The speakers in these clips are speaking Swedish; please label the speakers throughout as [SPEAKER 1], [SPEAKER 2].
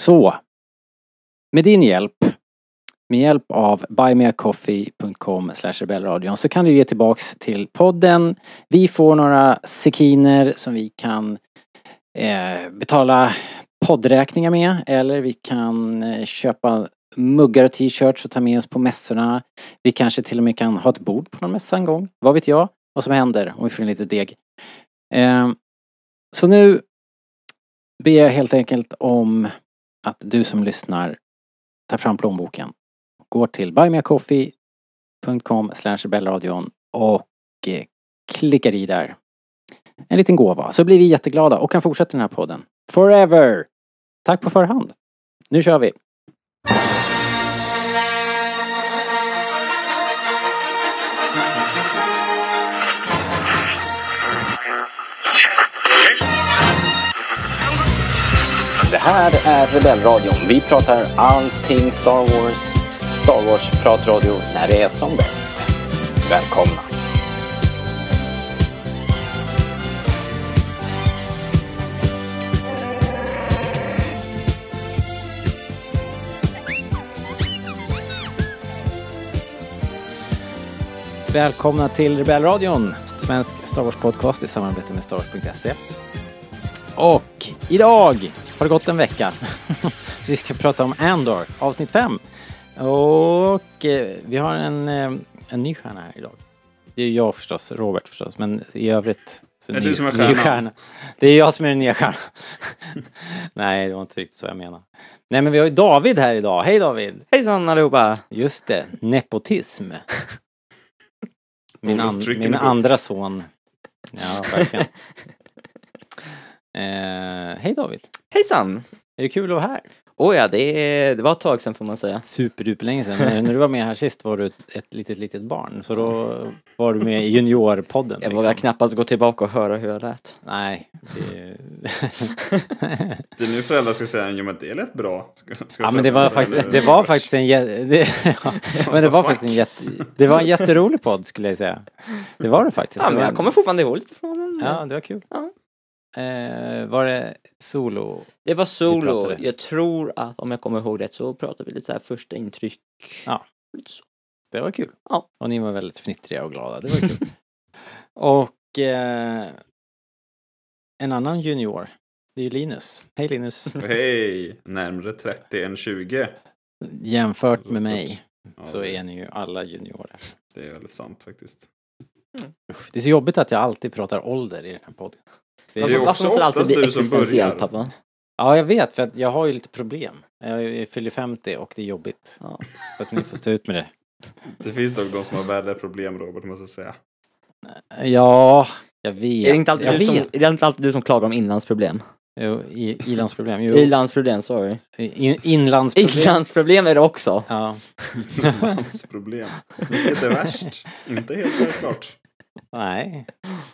[SPEAKER 1] Så. Med din hjälp, med hjälp av buymeacoffee.com rebellradion så kan du ge tillbaks till podden. Vi får några sekiner som vi kan eh, betala poddräkningar med eller vi kan eh, köpa muggar och t-shirts och ta med oss på mässorna. Vi kanske till och med kan ha ett bord på någon mässa en gång. Vad vet jag vad som händer om vi får in lite deg. Eh, så nu ber jag helt enkelt om att du som lyssnar tar fram plånboken, går till buymeacoffee.com rebellradion och eh, klickar i där. En liten gåva, så blir vi jätteglada och kan fortsätta den här podden. Forever! Tack på förhand. Nu kör vi!
[SPEAKER 2] Det här är Rebellradion. Vi pratar allting Star Wars. Star Wars-pratradio när det är som bäst. Välkomna!
[SPEAKER 1] Välkomna till Rebellradion, svensk Star Wars-podcast i samarbete med Star Wars.se. Och idag har det gått en vecka. Så vi ska prata om Andor, avsnitt 5. Och eh, vi har en, eh, en ny stjärna här idag. Det är jag förstås, Robert förstås, men i övrigt... Så
[SPEAKER 3] Det är
[SPEAKER 1] ny-
[SPEAKER 3] du som är
[SPEAKER 1] ny
[SPEAKER 3] stjärnan.
[SPEAKER 1] Det är jag som är den nya stjärnan. Nej, det var inte riktigt så jag menade. Nej, men vi har ju David här idag. Hej David!
[SPEAKER 4] Hejsan allihopa!
[SPEAKER 1] Just det, nepotism. Min, an,
[SPEAKER 3] Orostrucken
[SPEAKER 1] min
[SPEAKER 3] är på.
[SPEAKER 1] andra son. Ja, verkligen. eh, hej David!
[SPEAKER 4] Hejsan!
[SPEAKER 1] Är det kul att vara här?
[SPEAKER 4] Åh Oh ja, det, är- det var ett tag sedan får man säga.
[SPEAKER 1] Superduper länge sedan. Men när du var med här sist var du ett, ett litet, litet barn. Så då var du med i juniorpodden. liksom.
[SPEAKER 4] Jag vågar knappast gå tillbaka och höra hur jag lät.
[SPEAKER 1] Nej. Det...
[SPEAKER 3] Det är nu föräldrar ska säga ja men det lät bra. Ska, ska
[SPEAKER 1] ja men det var
[SPEAKER 3] föräldrar säga
[SPEAKER 1] faktiskt, det var
[SPEAKER 3] Robert?
[SPEAKER 1] faktiskt en jä- det, ja, men det var
[SPEAKER 3] What the
[SPEAKER 1] faktiskt en jätte, det var en jätterolig podd skulle jag säga. Det var det faktiskt.
[SPEAKER 4] Ja,
[SPEAKER 1] Det
[SPEAKER 4] men
[SPEAKER 1] var-
[SPEAKER 4] jag kommer fortfarande ihåg lite från den.
[SPEAKER 1] Ja, det var kul.
[SPEAKER 4] Ja.
[SPEAKER 1] Eh, var det solo?
[SPEAKER 4] Det var
[SPEAKER 1] Vi
[SPEAKER 4] solo.
[SPEAKER 1] pratade.
[SPEAKER 4] Jag tror att om jag kommer ihåg rätt så pratade vi lite så här första intryck.
[SPEAKER 1] Ja.
[SPEAKER 4] Lite så.
[SPEAKER 1] Det var kul.
[SPEAKER 4] Ja.
[SPEAKER 1] Och ni var väldigt fnittriga och glada. Det var kul. och eh, en annan junior, det är ju Linus. Hej Linus.
[SPEAKER 3] Hej! Närmare 30 än 20.
[SPEAKER 1] Jämfört med mig
[SPEAKER 3] Ja,
[SPEAKER 1] så
[SPEAKER 3] det-
[SPEAKER 1] är ni ju alla juniorer.
[SPEAKER 3] Det är väldigt sant faktiskt.
[SPEAKER 1] Usch, Det är så jobbigt att jag alltid pratar ålder i den här podden. Det
[SPEAKER 3] är
[SPEAKER 4] Varför,
[SPEAKER 3] också
[SPEAKER 4] varför måste det alltid
[SPEAKER 3] oftast
[SPEAKER 4] bli
[SPEAKER 3] du som
[SPEAKER 4] existentiellt
[SPEAKER 3] börjar.
[SPEAKER 4] pappa?
[SPEAKER 1] Ja, jag vet för att jag har ju lite problem. Jag är- fyller 50 och det är jobbigt.
[SPEAKER 4] Ja.
[SPEAKER 1] Så att ni får stå ut med det.
[SPEAKER 3] Det finns dock de som har värre problem Robert måste jag säga.
[SPEAKER 1] Ja, jag vet.
[SPEAKER 4] Är, det inte alltid
[SPEAKER 1] jag
[SPEAKER 4] du som,
[SPEAKER 1] vet.
[SPEAKER 4] är det inte alltid du som klagar om inlandsproblem?
[SPEAKER 1] Jo, i- ilandsproblem. Jo,
[SPEAKER 4] Ilandsproblem, sorry.
[SPEAKER 1] in, inlandsproblem.
[SPEAKER 4] Inlandsproblem är det också.
[SPEAKER 1] Ja,
[SPEAKER 3] Hans problem. Vilket är värst? Inte helt självklart.
[SPEAKER 1] nej.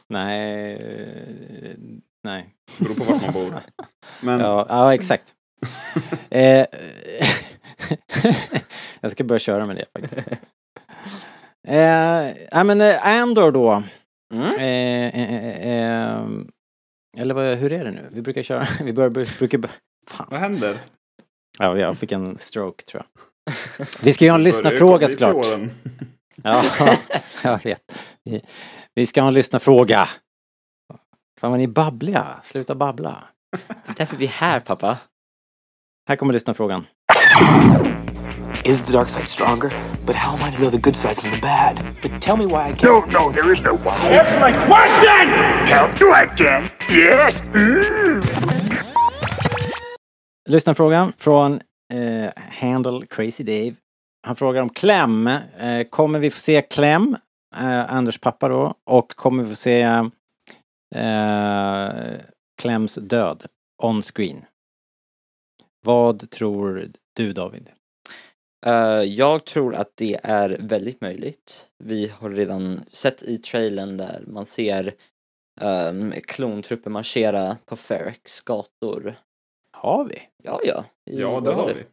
[SPEAKER 1] Nej. eh, Nej.
[SPEAKER 3] Beror på vart man bor. Men
[SPEAKER 1] Ja, ja exakt. eh, jag ska börja köra med det faktiskt. Eh, nej, men eh, Andor då.
[SPEAKER 4] Mm.
[SPEAKER 1] Eh, eh, eh, eh, eller vad, hur är det nu? Vi brukar köra, vi bör, brukar... bör- Fan.
[SPEAKER 3] vad händer?
[SPEAKER 1] Ja, jag fick en stroke tror jag. Vi ska ju ha en
[SPEAKER 3] Börjar ju komma
[SPEAKER 1] lyssnarfråga
[SPEAKER 3] dit
[SPEAKER 1] såklart.
[SPEAKER 3] åren.
[SPEAKER 1] Ja, jag vet. Vi- Vi ska ha en lyssnarfråga. Fan vad ni är babbliga. Sluta babbla.
[SPEAKER 4] Det är därför vi är här pappa.
[SPEAKER 1] Här kommer lyssnarfrågan.
[SPEAKER 2] Is the dark side stronger? But how am I to know the good side from the bad? But tell me why I can't...
[SPEAKER 5] No, no, there is no why. Answer my question! Help you again? Yes.
[SPEAKER 1] Lyssnarfrågan från eh, Handle Crazy Dave. Han frågar om Kläm. Eh, kommer vi få se Kläm? Eh, Anders pappa då. Och kommer vi få se eh, Kläms död on screen? Vad tror du David?
[SPEAKER 4] Eh, jag tror att det är väldigt möjligt. Vi har redan sett i trailern där man ser um, klontrupper marschera på Ferrex gator.
[SPEAKER 1] Har vi?
[SPEAKER 4] Ja, ja. i
[SPEAKER 3] Ja, det har
[SPEAKER 4] år.
[SPEAKER 3] vi.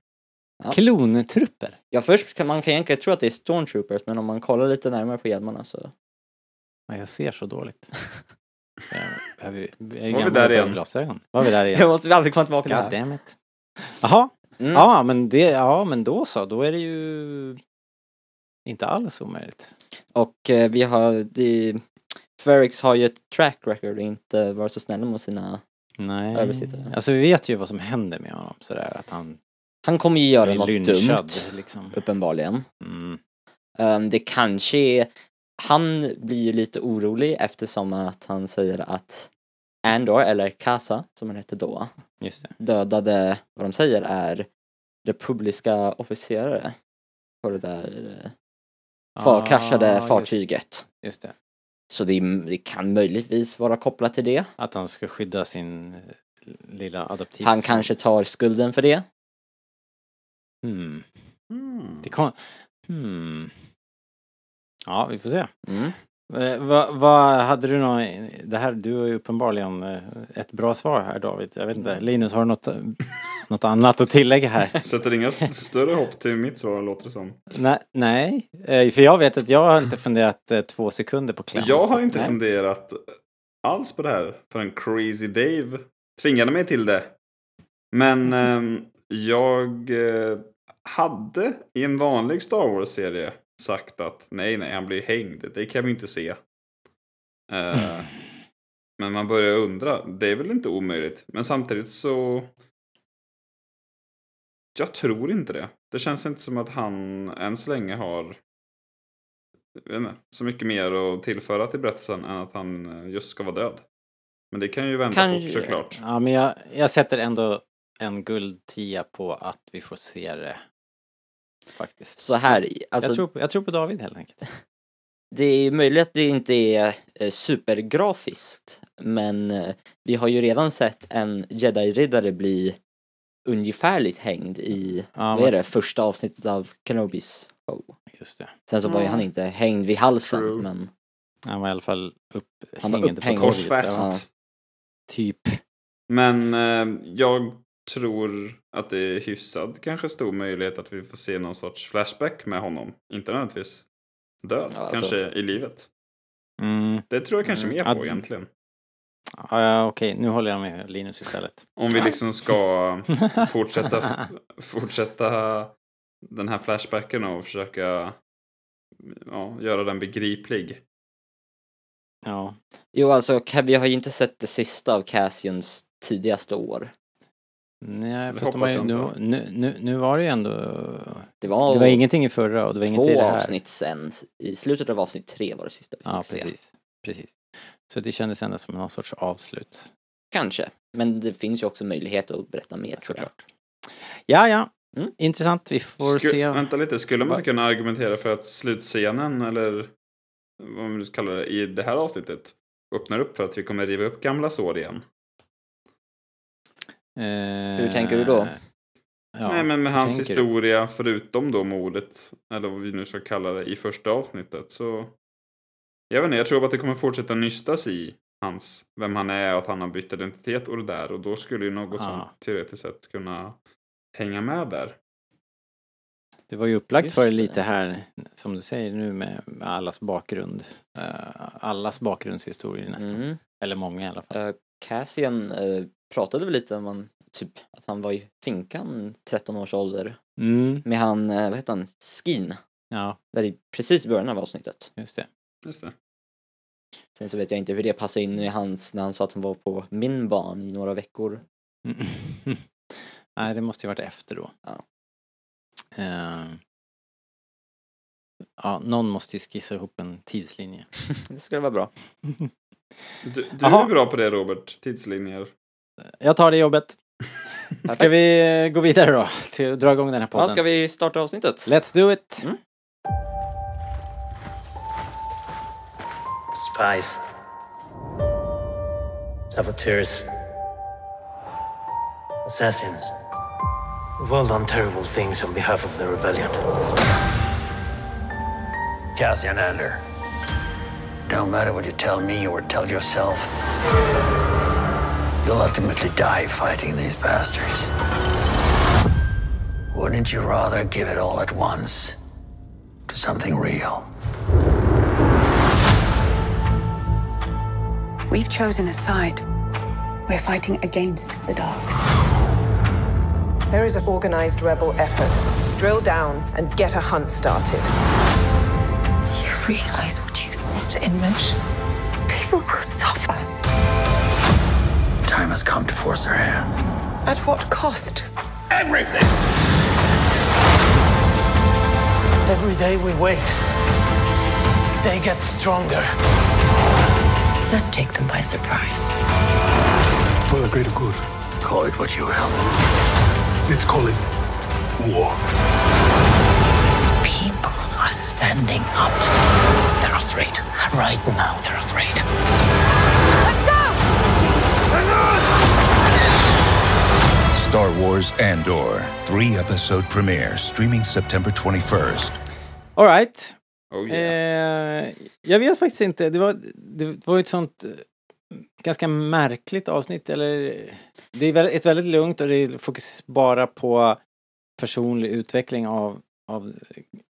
[SPEAKER 4] Ja.
[SPEAKER 1] Klontrupper?
[SPEAKER 4] Ja, först kan man kan egentligen tro att det är Stormtroopers, men om man kollar lite närmare på hjälmarna så...
[SPEAKER 1] Nej, jag ser så dåligt. Jag behöver ju- jag är ju
[SPEAKER 3] Var
[SPEAKER 1] gammal
[SPEAKER 3] vi där
[SPEAKER 1] och behöver
[SPEAKER 3] igen?
[SPEAKER 1] Glasögon. Var vi där igen?
[SPEAKER 4] Jag måste vi aldrig komma tillbaka till det här.
[SPEAKER 1] Goddammit. Jaha,
[SPEAKER 4] Mm.
[SPEAKER 1] ja men, det, ja men då så, då är det ju inte alls omöjligt.
[SPEAKER 4] Och eh, vi har... Det... Ferrex har ju ett track record och inte varit så snälla mot sina...
[SPEAKER 1] Nej.
[SPEAKER 4] Översittare.
[SPEAKER 1] Alltså vi vet ju vad som händer med honom sådär att han
[SPEAKER 4] Han kommer ju göra något dumt,
[SPEAKER 1] liksom.
[SPEAKER 4] uppenbarligen.
[SPEAKER 1] Mm.
[SPEAKER 4] Ehm, det kanske är... Han blir ju lite orolig eftersom att han säger att Andor, eller Kasa som han hette då,
[SPEAKER 1] Just det.
[SPEAKER 4] dödade, vad de säger är, republika officerare på det där eh, far,
[SPEAKER 1] Ah,
[SPEAKER 4] kraschade
[SPEAKER 1] just-
[SPEAKER 4] fartyget.
[SPEAKER 1] Just det.
[SPEAKER 4] Så det, är- det kan möjligtvis vara kopplat till det.
[SPEAKER 1] Att han ska skydda sin eh, lilla adoptiv.
[SPEAKER 4] Han kanske tar skulden för det.
[SPEAKER 1] Mm.
[SPEAKER 3] Mm.
[SPEAKER 1] Det kan... Hmm. Ja, vi får se.
[SPEAKER 4] Mm.
[SPEAKER 1] Eh, Vad vad hade du någon, det här, du har ju uppenbarligen eh, ett bra svar här David. Jag vet
[SPEAKER 4] Mm.
[SPEAKER 1] inte, Linus har du något, något annat att tillägga här?
[SPEAKER 3] Sätter inga st- större hopp till mitt svar låter det som.
[SPEAKER 1] nej, nej, Eh, för jag vet att jag har inte funderat eh, två sekunder på kläm.
[SPEAKER 3] Jag har inte
[SPEAKER 1] Nej.
[SPEAKER 3] funderat alls på det här förrän Crazy Dave tvingade mig till det. Men ehm, jag eh, hade i en vanlig Star Wars-serie sagt att nej, nej, han blir hängd. Det kan vi inte se. Eh, Men man börjar undra. Det är väl inte omöjligt. Men samtidigt så... Jag tror inte det. Det känns inte som att han än så länge har jag vet inte, så mycket mer att tillföra till berättelsen än att han eh, just ska vara död. Men det kan ju vända
[SPEAKER 4] Kanske.
[SPEAKER 3] fort såklart.
[SPEAKER 1] Ja, men jag, jag sätter ändå en guldtia på att vi får se det. Faktiskt.
[SPEAKER 4] Så här, alltså
[SPEAKER 1] jag, tror, på- jag tror på David helt enkelt.
[SPEAKER 4] det är ju möjligt att det inte är eh, supergrafiskt, men eh, vi har ju redan sett en jedi-riddare bli ungefärligt hängd i,
[SPEAKER 1] Ja,
[SPEAKER 4] vad är det, första avsnittet av Kenobis show.
[SPEAKER 1] Just det.
[SPEAKER 4] Sen så var ju
[SPEAKER 3] Mm.
[SPEAKER 4] han inte hängd vid halsen,
[SPEAKER 3] True.
[SPEAKER 4] men
[SPEAKER 1] Han var i alla fall upphängd.
[SPEAKER 4] Han var upphängd.
[SPEAKER 3] Korsfäst.
[SPEAKER 4] Ja.
[SPEAKER 1] Typ.
[SPEAKER 3] Men eh, jag tror att det är hyfsad kanske stor möjlighet att vi får se någon sorts flashback med honom. Inte nödvändigtvis död,
[SPEAKER 4] Ja, alltså-
[SPEAKER 3] kanske i livet.
[SPEAKER 1] Mm.
[SPEAKER 3] Det tror jag kanske
[SPEAKER 4] Mm.
[SPEAKER 3] mer
[SPEAKER 1] Ja,
[SPEAKER 3] på egentligen.
[SPEAKER 1] Ja, Okej, nu håller jag med Linus istället.
[SPEAKER 3] Om vi liksom ska fortsätta, fortsätta den här flashbacken och försöka ja, göra den begriplig.
[SPEAKER 1] ja.
[SPEAKER 4] jo alltså Kev, vi har ju inte sett det sista av Cassians tidigaste år.
[SPEAKER 1] Nej,
[SPEAKER 3] Det
[SPEAKER 1] fast de har
[SPEAKER 3] hoppas
[SPEAKER 1] ju,
[SPEAKER 3] jag
[SPEAKER 1] nu, nu,
[SPEAKER 3] inte.
[SPEAKER 1] nu, nu var det ju ändå...
[SPEAKER 4] Det var,
[SPEAKER 1] Det var ingenting i förra och det var inget i
[SPEAKER 4] två
[SPEAKER 1] det här.
[SPEAKER 4] avsnitt sen, i slutet av avsnitt tre var det sista vi fick
[SPEAKER 1] Ja,
[SPEAKER 4] se.
[SPEAKER 1] precis. precis. Så det kändes ändå som någon sorts avslut.
[SPEAKER 4] Kanske, men det finns ju också möjlighet att berätta mer tror jag.
[SPEAKER 1] Såklart. Ja, ja.
[SPEAKER 4] Mm.
[SPEAKER 1] Intressant. Vi får
[SPEAKER 3] Sku-
[SPEAKER 1] se.
[SPEAKER 3] Vänta lite, skulle man inte kunna argumentera för att slutscenen eller vad man nu ska kalla det i det här avsnittet öppnar upp för att vi kommer riva upp gamla sår igen?
[SPEAKER 1] Hur
[SPEAKER 4] tänker du då?
[SPEAKER 1] Eh, Ja.
[SPEAKER 3] Nej, men med hans
[SPEAKER 1] tänker du?
[SPEAKER 3] historia förutom då mordet, eller vad vi nu ska kalla det, i första avsnittet så... Jag vet inte, jag tror att det kommer fortsätta nystas i hans, vem han är och att han har bytt identitet och det där och då skulle ju något
[SPEAKER 1] Ja.
[SPEAKER 3] sånt teoretiskt sett kunna hänga med där.
[SPEAKER 1] Det var ju upplagt
[SPEAKER 4] Just
[SPEAKER 1] för det
[SPEAKER 4] det.
[SPEAKER 1] lite här, som du säger nu med med allas bakgrund. eh, Allas bakgrundshistorier nästan.
[SPEAKER 4] Mm.
[SPEAKER 1] Eller många i alla fall.
[SPEAKER 4] Eh, Cassian eh, pratade väl lite om han, typ, att han var i finkan 13 års ålder
[SPEAKER 1] Mm.
[SPEAKER 4] med han, eh, vad heter han, Skin,
[SPEAKER 1] Ja,
[SPEAKER 4] där i precis början av avsnittet.
[SPEAKER 1] just det.
[SPEAKER 3] Just det.
[SPEAKER 4] Sen så vet jag inte hur det passar in i hans, när han sa att han var på min barn i några veckor.
[SPEAKER 1] Mm. Nej, det måste ju varit efter då.
[SPEAKER 4] Ja.
[SPEAKER 1] Eh, ja, någon måste ju skissa ihop en tidslinje.
[SPEAKER 4] Det skulle vara bra.
[SPEAKER 3] Du, du
[SPEAKER 1] Jaha.
[SPEAKER 3] är bra på det Robert, tidslinjer.
[SPEAKER 1] Jag tar det jobbet. Ska
[SPEAKER 4] Perfekt.
[SPEAKER 1] vi eh, gå vidare då? Till att dra igång den här podden.
[SPEAKER 4] Ja, ska vi starta avsnittet?
[SPEAKER 1] Let's do it!
[SPEAKER 4] Mm.
[SPEAKER 6] spies, saboteurs, assassins, who've all done terrible things on behalf of the rebellion. Cassian Andor. Don't matter what you tell me or tell yourself. You'll ultimately die fighting these bastards. Wouldn't you rather give it all at once to something real?
[SPEAKER 7] We've chosen a side. We're fighting against the dark.
[SPEAKER 8] There is an organized rebel effort. Drill down and get a hunt started.
[SPEAKER 7] You realize what you set in motion? People will suffer.
[SPEAKER 6] Time has come to force their hand.
[SPEAKER 8] At what cost?
[SPEAKER 5] Everything!
[SPEAKER 6] Every day we wait, they get stronger.
[SPEAKER 7] Let's take them by surprise.
[SPEAKER 9] For the greater good.
[SPEAKER 6] Call it what you will.
[SPEAKER 9] Let's call it war.
[SPEAKER 7] People are standing up. They're afraid. Right now, they're afraid.
[SPEAKER 9] Star Wars Andor. Three episode premiere streaming September 21st.
[SPEAKER 1] Alright.
[SPEAKER 3] Oh, yeah.
[SPEAKER 1] Eh, jag vet faktiskt inte. Det var, det var ju ett sånt eh, ganska märkligt avsnitt. Eller, det är väl- ett väldigt lugnt och det är fokus bara på personlig utveckling av, av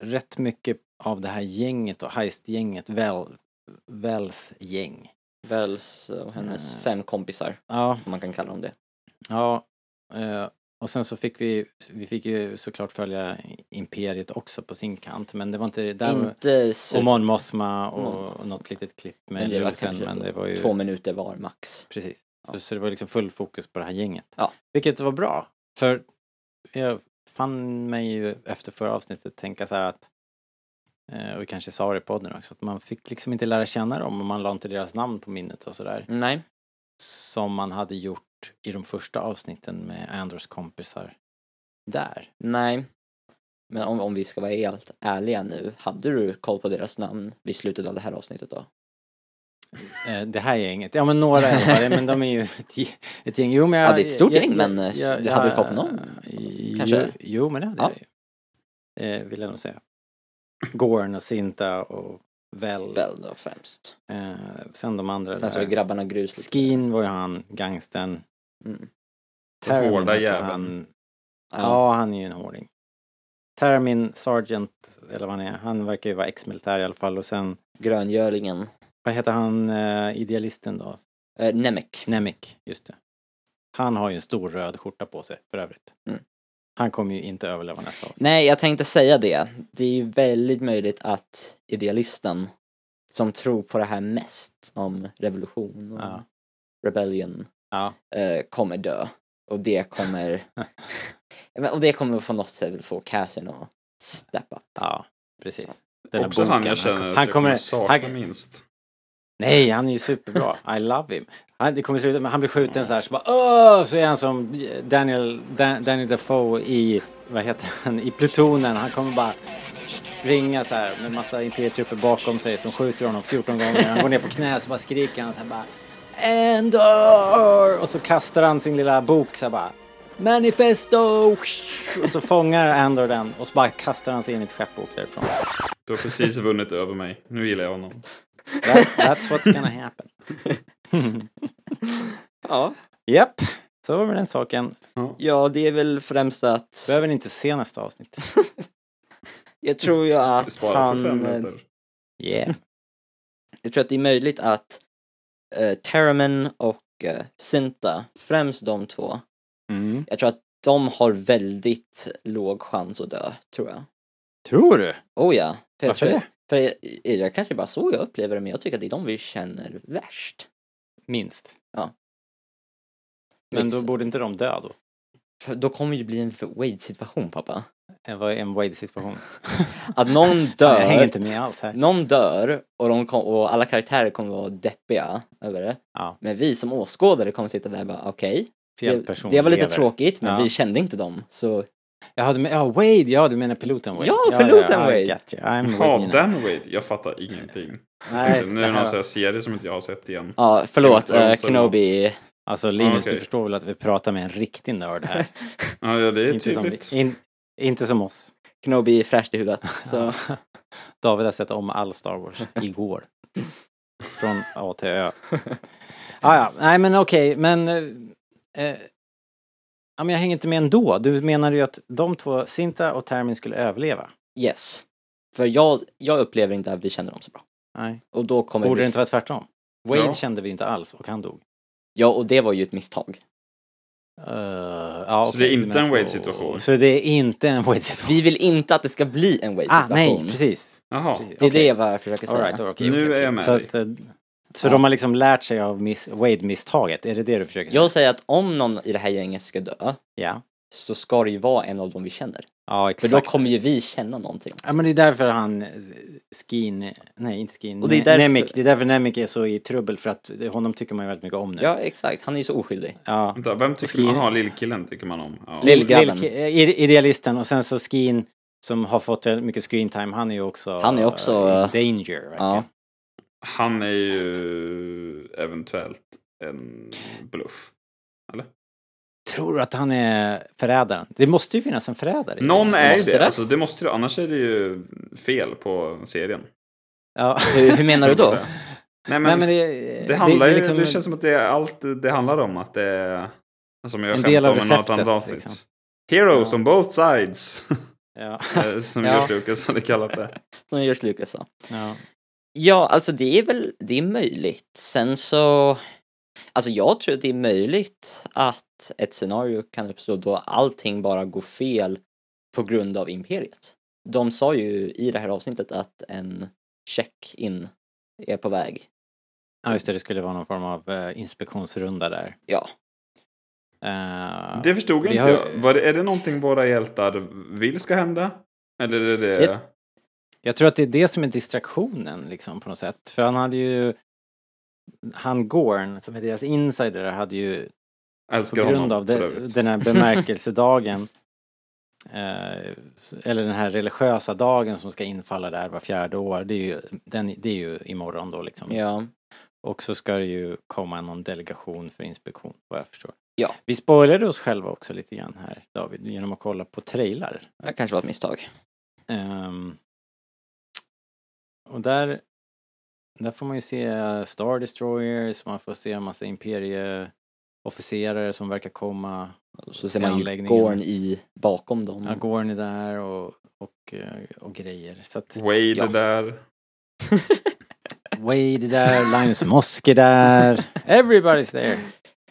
[SPEAKER 1] rätt mycket av det här gänget och heistgänget, väl, Wells gäng.
[SPEAKER 4] Väls och hennes
[SPEAKER 1] Mm.
[SPEAKER 4] fem kompisar,
[SPEAKER 1] Ja,
[SPEAKER 4] om man kan kalla dem det.
[SPEAKER 1] ja. Eh, och sen så fick vi, vi fick ju såklart följa Imperiet också på sin kant men det var inte, där var-
[SPEAKER 4] Inte så,
[SPEAKER 1] Och Mon Mothma och,
[SPEAKER 4] Mon
[SPEAKER 1] och något litet klipp
[SPEAKER 4] Typ. Mm. Men
[SPEAKER 1] med
[SPEAKER 4] det var
[SPEAKER 1] Lucen
[SPEAKER 4] kanske
[SPEAKER 1] men det var ju...
[SPEAKER 4] två minuter var max.
[SPEAKER 1] Precis.
[SPEAKER 4] Ja.
[SPEAKER 1] Så, så det var liksom full fokus på det här gänget.
[SPEAKER 4] Ja.
[SPEAKER 1] Vilket var bra. För jag fann mig ju efter förra avsnittet tänka så här att eh, och vi kanske sa det i podden också, att man fick liksom inte lära känna dem och man la inte deras namn på minnet och sådär.
[SPEAKER 4] Nej,
[SPEAKER 1] Som man hade gjort i de första avsnitten med Andros kompisar där.
[SPEAKER 4] nej. Men om, om vi ska vara helt ärliga nu, hade du koll på deras namn vid slutet av det här avsnittet då?
[SPEAKER 1] Eh, det här gänget, ja men några i alla fall, men de är ju ett, ge- ett gäng. Jo, men jag,
[SPEAKER 4] Ja, det är ett stort
[SPEAKER 1] jag-
[SPEAKER 4] gäng,
[SPEAKER 1] jag-
[SPEAKER 4] men, eh, du hade koll på någon,
[SPEAKER 1] Jo,
[SPEAKER 4] kanske?
[SPEAKER 1] Jo, men det hade
[SPEAKER 4] Ja.
[SPEAKER 1] jag ju. Eh, vill jag nog säga. Gorn och Sinta och Väl.
[SPEAKER 4] Väl då främst.
[SPEAKER 1] Eh, sen de andra
[SPEAKER 4] Sen så
[SPEAKER 1] där.
[SPEAKER 4] är grabbarna grus. liksom.
[SPEAKER 1] Skin var ju han, gangsten.
[SPEAKER 4] Mm.
[SPEAKER 1] Termin
[SPEAKER 3] hårda
[SPEAKER 1] hette
[SPEAKER 3] jäveln.
[SPEAKER 1] han.
[SPEAKER 4] Ja.
[SPEAKER 1] Ja, han är ju en hårding. Termin, Sergeant, eller vad han är, han verkar ju vara ex-militär i alla fall. Och sen,
[SPEAKER 4] Gröngölingen.
[SPEAKER 1] vad heter han, eh, idealisten då?
[SPEAKER 4] Eh, Nemek.
[SPEAKER 1] Nemik, just det. Han har ju en stor röd skjorta på sig för övrigt.
[SPEAKER 4] Mm.
[SPEAKER 1] Han kommer ju inte överleva nästa avsnitt.
[SPEAKER 4] Nej, jag tänkte säga det. Det är ju väldigt möjligt att idealisten som tror på det här mest om revolution och
[SPEAKER 1] Ja.
[SPEAKER 4] rebellion
[SPEAKER 1] Ja.
[SPEAKER 4] eh, kommer dö. Och det kommer... Men- och det kommer på något sätt få Cassian att steppa. upp.
[SPEAKER 1] Ja, precis. Den där
[SPEAKER 3] Också han
[SPEAKER 1] bunken,
[SPEAKER 3] jag känner
[SPEAKER 1] kom-
[SPEAKER 3] att
[SPEAKER 1] han
[SPEAKER 3] jag kommer
[SPEAKER 1] kommer,
[SPEAKER 3] sakna
[SPEAKER 1] han-
[SPEAKER 3] minst.
[SPEAKER 1] Nej, han är ju superbra. I love him. Han, det kommer sluta med han blir skjuten så här så bara Åh! Så är han som Daniel, Dan, Daniel Defoe i, vad heter han, i plutonen. Han kommer bara springa så här med massa imperietrupper bakom sig som skjuter honom 14 gånger. Han går ner på knä så bara skriker han så här bara Endor! Och så kastar han sin lilla bok så här bara Manifesto! Och så fångar Andor den och så bara kastar han sig in i ett skeppbok därifrån.
[SPEAKER 3] Du har precis vunnit över mig. Nu gillar jag honom.
[SPEAKER 1] That, that's what's gonna happen.
[SPEAKER 4] Ja.
[SPEAKER 1] Japp, så var det med den saken.
[SPEAKER 4] ja, det är väl främst att...
[SPEAKER 1] Behöver ni inte se nästa avsnitt.
[SPEAKER 4] Jag tror ju
[SPEAKER 3] Vi
[SPEAKER 4] att
[SPEAKER 3] sparar
[SPEAKER 4] han... eh,
[SPEAKER 3] för fem minuter.
[SPEAKER 1] Yeah.
[SPEAKER 4] Jag tror att det är möjligt att eh, Terramin och eh, Sinta, främst de två,
[SPEAKER 1] Mm.
[SPEAKER 4] jag tror att de har väldigt låg chans att dö, tror jag.
[SPEAKER 1] Tror du?
[SPEAKER 4] Oh ja. För jag
[SPEAKER 1] Varför
[SPEAKER 4] tror,
[SPEAKER 1] det?
[SPEAKER 4] För jag, eh, jag kanske bara så jag upplever det, men jag tycker att det är de vi känner värst.
[SPEAKER 1] Minst.
[SPEAKER 4] Ja.
[SPEAKER 1] Men då
[SPEAKER 4] Liksom.
[SPEAKER 1] borde inte de dö då?
[SPEAKER 4] För då kommer det ju bli en Wade-situation, pappa.
[SPEAKER 1] Det var Eh, en Wade-situation.
[SPEAKER 4] Att någon
[SPEAKER 1] Jag hänger
[SPEAKER 4] dör,
[SPEAKER 1] inte med alls här.
[SPEAKER 4] någon dör och, de kom, och alla karaktärer kommer vara deppiga över det.
[SPEAKER 1] Ja.
[SPEAKER 4] Men vi som åskådare kommer sitta där och bara, okej,
[SPEAKER 1] Fel
[SPEAKER 4] det,
[SPEAKER 1] person
[SPEAKER 4] det var lite
[SPEAKER 1] lever.
[SPEAKER 4] tråkigt, men
[SPEAKER 1] Ja.
[SPEAKER 4] vi kände inte dem. Så
[SPEAKER 1] Jaha, du men, ja, Wade, ja du menar piloten Wade?
[SPEAKER 4] Ja, piloten Wade.
[SPEAKER 1] I got you. I'm
[SPEAKER 3] Ja,
[SPEAKER 1] Wade.
[SPEAKER 3] den Wade. Jag fattar ingenting.
[SPEAKER 1] Nej,
[SPEAKER 3] nu
[SPEAKER 1] det
[SPEAKER 3] är det
[SPEAKER 1] här-
[SPEAKER 3] någon sån här serie som inte jag har sett igen.
[SPEAKER 4] ja, förlåt,
[SPEAKER 3] Game of
[SPEAKER 4] eh,
[SPEAKER 3] Thrones eller
[SPEAKER 4] Kenobi.
[SPEAKER 1] Alltså Linus,
[SPEAKER 3] Ah, okej.
[SPEAKER 1] du förstår väl att vi pratar med en riktig nörd här.
[SPEAKER 3] Ja, ja, det är
[SPEAKER 1] inte, som, vi-
[SPEAKER 3] tydligt.
[SPEAKER 1] in, inte som oss.
[SPEAKER 4] Kenobi är fräscht i huvudet. Så.
[SPEAKER 1] David har sett om all Star Wars igår. Från A till Ö. Ah, ja, nej men okej, men... Eh, eh, ja, men jag hänger inte med ändå. Du menade ju att de två, Sinta och Termin, skulle överleva.
[SPEAKER 4] Yes. För jag, jag upplever inte att vi känner dem så bra.
[SPEAKER 1] Nej.
[SPEAKER 4] Och då kommer
[SPEAKER 1] Borde
[SPEAKER 4] vi...
[SPEAKER 1] det inte vara tvärtom? Wade
[SPEAKER 3] Ja.
[SPEAKER 1] kände vi inte alls och han dog.
[SPEAKER 4] Ja, och det var ju ett misstag.
[SPEAKER 1] Eh, ja,
[SPEAKER 3] Så
[SPEAKER 1] okej,
[SPEAKER 3] det är
[SPEAKER 1] du
[SPEAKER 3] inte
[SPEAKER 1] menar
[SPEAKER 3] en
[SPEAKER 1] så.
[SPEAKER 3] Wade-situation?
[SPEAKER 1] Så det är inte en Wade-situation?
[SPEAKER 4] Vi vill inte att det ska bli en
[SPEAKER 1] Ah,
[SPEAKER 4] Wade-situation.
[SPEAKER 1] nej, precis.
[SPEAKER 3] Jaha.
[SPEAKER 1] precis.
[SPEAKER 4] Det är
[SPEAKER 1] Okej.
[SPEAKER 4] det vad jag försöker säga.
[SPEAKER 1] All right, all right,
[SPEAKER 3] Nu
[SPEAKER 1] okej,
[SPEAKER 3] är
[SPEAKER 1] okej.
[SPEAKER 3] jag med
[SPEAKER 1] så
[SPEAKER 3] dig.
[SPEAKER 1] att, eh, så de har liksom lärt sig av miss, Wade-misstaget? Är det det du försöker säga?
[SPEAKER 4] Jag säger att om någon i det här gänget ska dö,
[SPEAKER 1] Ja.
[SPEAKER 4] så ska det ju vara en av dem vi känner.
[SPEAKER 1] Ja,
[SPEAKER 4] För
[SPEAKER 1] exakt.
[SPEAKER 4] då kommer ju vi känna någonting.
[SPEAKER 1] Ja, men det är därför han... eh, Skin... Nej, inte Skin.
[SPEAKER 4] Och det är
[SPEAKER 1] Ne-
[SPEAKER 4] därför-
[SPEAKER 1] Nemec. Det är därför Nemec är så i trubbel, för att eh, honom tycker man ju väldigt mycket om nu.
[SPEAKER 4] Ja, exakt. Han är ju så oskyldig.
[SPEAKER 1] ja.
[SPEAKER 3] Vänta, vem tycker man Jaha, lillkillen tycker man om. Ja.
[SPEAKER 4] Lillgrabben.
[SPEAKER 1] Lil- eh, ide- Idealisten. Och sen så Skin, som har fått väldigt mycket screen time, han är ju också...
[SPEAKER 4] Han är också,
[SPEAKER 1] eh,
[SPEAKER 4] eh,
[SPEAKER 1] in danger, verkligen.
[SPEAKER 4] Ja.
[SPEAKER 3] Han är ju eventuellt en bluff.
[SPEAKER 1] Tror du att han är förrädaren? Det måste ju finnas en förrädare.
[SPEAKER 3] Någon är ju
[SPEAKER 4] Måste
[SPEAKER 3] det.
[SPEAKER 4] det?
[SPEAKER 3] Alltså, det måste du, annars är det ju fel på serien.
[SPEAKER 1] Ja.
[SPEAKER 4] Hur, hur menar du då?
[SPEAKER 3] Nej, men,
[SPEAKER 1] Nej, men
[SPEAKER 3] det,
[SPEAKER 1] det,
[SPEAKER 3] handlar
[SPEAKER 1] är
[SPEAKER 3] ju,
[SPEAKER 1] liksom-
[SPEAKER 3] det känns som att det är allt det handlar om. Att det är, alltså, som jag
[SPEAKER 1] En
[SPEAKER 3] skämtade
[SPEAKER 1] del av
[SPEAKER 3] om i något annat
[SPEAKER 1] receptet,
[SPEAKER 3] avsnitt.
[SPEAKER 1] liksom.
[SPEAKER 3] Heroes
[SPEAKER 1] Ja.
[SPEAKER 3] on both sides.
[SPEAKER 1] Ja.
[SPEAKER 3] Eh, som
[SPEAKER 1] Ja.
[SPEAKER 3] George Lucas hade kallat det.
[SPEAKER 4] Som George Lucas sa.
[SPEAKER 1] ja.
[SPEAKER 4] Ja, alltså det är väl, det är möjligt. Sen så, alltså jag tror att det är möjligt att ett scenario kan uppstå då allting bara går fel på grund av imperiet. De sa ju i det här avsnittet att en check-in är på väg.
[SPEAKER 1] Ja, just det, det skulle vara någon form av eh, inspektionsrunda där.
[SPEAKER 4] Ja,
[SPEAKER 1] Eh,
[SPEAKER 3] Det förstod
[SPEAKER 1] Vi
[SPEAKER 3] inte
[SPEAKER 1] har-
[SPEAKER 3] jag. Var det, är det någonting våra hjältar vill ska hända? Eller är det...
[SPEAKER 4] Jag-
[SPEAKER 1] Jag tror att det är det som är distraktionen liksom på något sätt. För han hade ju... Han Gorn, som är deras insider, hade ju på
[SPEAKER 3] Älskar
[SPEAKER 1] grund
[SPEAKER 3] honom
[SPEAKER 1] av
[SPEAKER 3] för
[SPEAKER 1] det,
[SPEAKER 3] övrigt.
[SPEAKER 1] den här bemärkelsedagen eh, s- eller den här religiösa dagen som ska infalla där var fjärde år, det är ju, den, det är ju imorgon då liksom.
[SPEAKER 4] ja,
[SPEAKER 1] Och så ska det ju komma någon delegation för inspektion, vad jag förstår.
[SPEAKER 4] Ja.
[SPEAKER 1] Vi spoilade oss själva också lite grann här, David, genom att kolla på trailrar.
[SPEAKER 4] det kanske var ett misstag.
[SPEAKER 1] Ehm, och där, där får man ju se Star Destroyers, man får se en massa imperieofficerare som verkar komma.
[SPEAKER 4] Och Så ser man ju
[SPEAKER 1] Anläggningen.
[SPEAKER 4] Gorn i bakom dem.
[SPEAKER 1] Ja, Gorn är där och, och, eh, och grejer. Så att
[SPEAKER 3] Wade
[SPEAKER 4] Ja.
[SPEAKER 3] där.
[SPEAKER 1] Wade är där, Linus Mosk är där, everybody's there!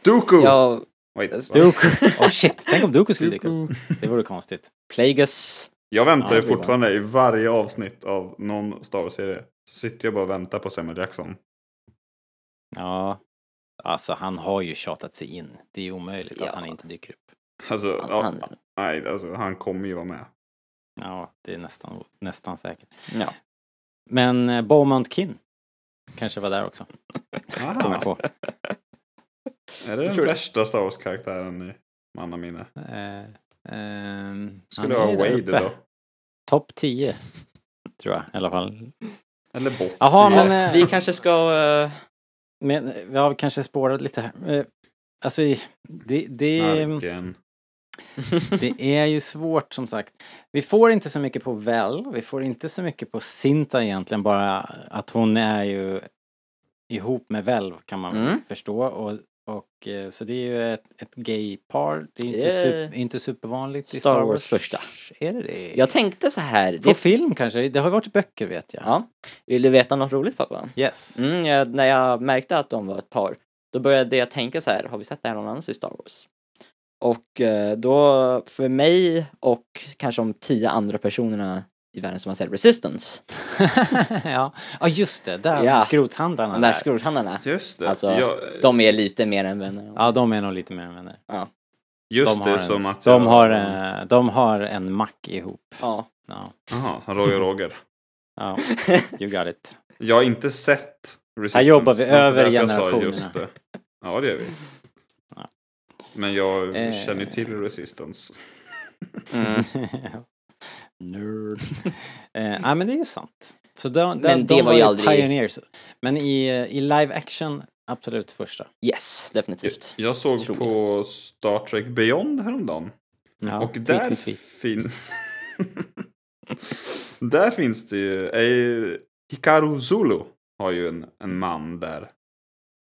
[SPEAKER 3] Dooku!
[SPEAKER 4] Ja,
[SPEAKER 3] Wait, va?
[SPEAKER 1] Duke! Oh shit, tänk om Dooku skulle dyka upp. Det vore konstigt.
[SPEAKER 4] Plagueis.
[SPEAKER 3] Jag väntar
[SPEAKER 1] Ja,
[SPEAKER 3] ju
[SPEAKER 1] det är bra.
[SPEAKER 3] fortfarande i varje avsnitt av någon Star Wars-serie. Så sitter jag bara och väntar på Samuel Jackson.
[SPEAKER 1] Ja. Alltså han har ju tjatat sig in. Det är omöjligt
[SPEAKER 4] Ja.
[SPEAKER 1] att han inte dyker upp.
[SPEAKER 3] Alltså,
[SPEAKER 4] Han-
[SPEAKER 3] ja,
[SPEAKER 4] han-
[SPEAKER 3] nej, alltså, han kommer ju vara med.
[SPEAKER 1] Ja, det är nästan, nästan säkert.
[SPEAKER 4] Ja.
[SPEAKER 1] Men eh, Beaumont Kin kanske var där också. Kom jag
[SPEAKER 3] Aha,
[SPEAKER 1] på.
[SPEAKER 3] Ah, är det den värsta Star Wars-karaktären i mannaminne?
[SPEAKER 1] Eh, ehm,
[SPEAKER 3] Skulle
[SPEAKER 1] han är
[SPEAKER 3] vara
[SPEAKER 1] där
[SPEAKER 3] Wade
[SPEAKER 1] uppe.
[SPEAKER 3] då?
[SPEAKER 1] Topp 10. Tror jag i alla fall.
[SPEAKER 3] Eller Bott?
[SPEAKER 1] Jaha,
[SPEAKER 3] Det-
[SPEAKER 1] men,
[SPEAKER 4] Ja,
[SPEAKER 1] eh,
[SPEAKER 4] vi kanske ska... eh,
[SPEAKER 1] Men eh, vi har kanske spårat lite här. Eh, Alltså, i- det, det,
[SPEAKER 3] Marken.
[SPEAKER 1] det är ju svårt som sagt. Vi får inte så mycket på Vel, vi får inte så mycket på Sinta egentligen, bara att hon är ju ihop med Vel kan man väl
[SPEAKER 4] Mm.
[SPEAKER 1] förstå. Och, och, eh, så det är ju ett, ett gay-par, det är inte,
[SPEAKER 4] Det är-
[SPEAKER 1] super, inte supervanligt i
[SPEAKER 4] Star Wars första.
[SPEAKER 1] Är det det?
[SPEAKER 4] Jag tänkte så här.
[SPEAKER 1] På
[SPEAKER 4] Det,
[SPEAKER 1] film kanske, det har ju varit i böcker vet jag.
[SPEAKER 4] ja. Vill du veta något roligt pappa?
[SPEAKER 1] Yes.
[SPEAKER 4] Mm, jag, när jag märkte att de var ett par, då började jag tänka så här, har vi sett det här någon annans i Star Wars? Och eh, då, för mig och kanske de tio andra personerna i världen som har sett Resistance,
[SPEAKER 1] ja. ja, just det, där
[SPEAKER 4] Ja.
[SPEAKER 1] skrothandlarna
[SPEAKER 4] de där skrothandlarna,
[SPEAKER 3] Just det.
[SPEAKER 4] Alltså,
[SPEAKER 3] jag,
[SPEAKER 4] de är lite mer än vänner.
[SPEAKER 1] Ja, de är nog lite mer än vänner.
[SPEAKER 3] just
[SPEAKER 1] de
[SPEAKER 3] det,
[SPEAKER 1] har
[SPEAKER 3] som
[SPEAKER 1] en,
[SPEAKER 3] att...
[SPEAKER 1] de,
[SPEAKER 3] jag-
[SPEAKER 1] har, eh, de har en mack ihop.
[SPEAKER 4] Ja.
[SPEAKER 1] Ja,
[SPEAKER 3] Jaha, Roger Roger.
[SPEAKER 1] ja you got it.
[SPEAKER 3] Jag har inte sett Resistance.
[SPEAKER 1] jobbar vi
[SPEAKER 3] Det var
[SPEAKER 1] över
[SPEAKER 3] därför jag sa
[SPEAKER 1] generationerna.
[SPEAKER 3] just det. Ja, det gör vi.
[SPEAKER 1] Ja.
[SPEAKER 3] Men jag
[SPEAKER 1] Eh.
[SPEAKER 3] känner ju till Resistance.
[SPEAKER 4] Mm.
[SPEAKER 1] Nerd. eh, nej, men det är ju sant. Så de, de,
[SPEAKER 4] Men
[SPEAKER 1] de
[SPEAKER 4] det var ju
[SPEAKER 1] ju
[SPEAKER 4] aldrig-
[SPEAKER 1] pioneers. Men i, eh, i live action absolut första.
[SPEAKER 4] Yes, definitivt.
[SPEAKER 3] Jag såg
[SPEAKER 4] Tror
[SPEAKER 3] på Star Trek Beyond häromdagen.
[SPEAKER 1] Ja,
[SPEAKER 3] och
[SPEAKER 1] tweet,
[SPEAKER 3] där
[SPEAKER 1] tweet, tweet.
[SPEAKER 3] finns... där finns det ju... Är ju Hikaru Zulu har ju en, en man där.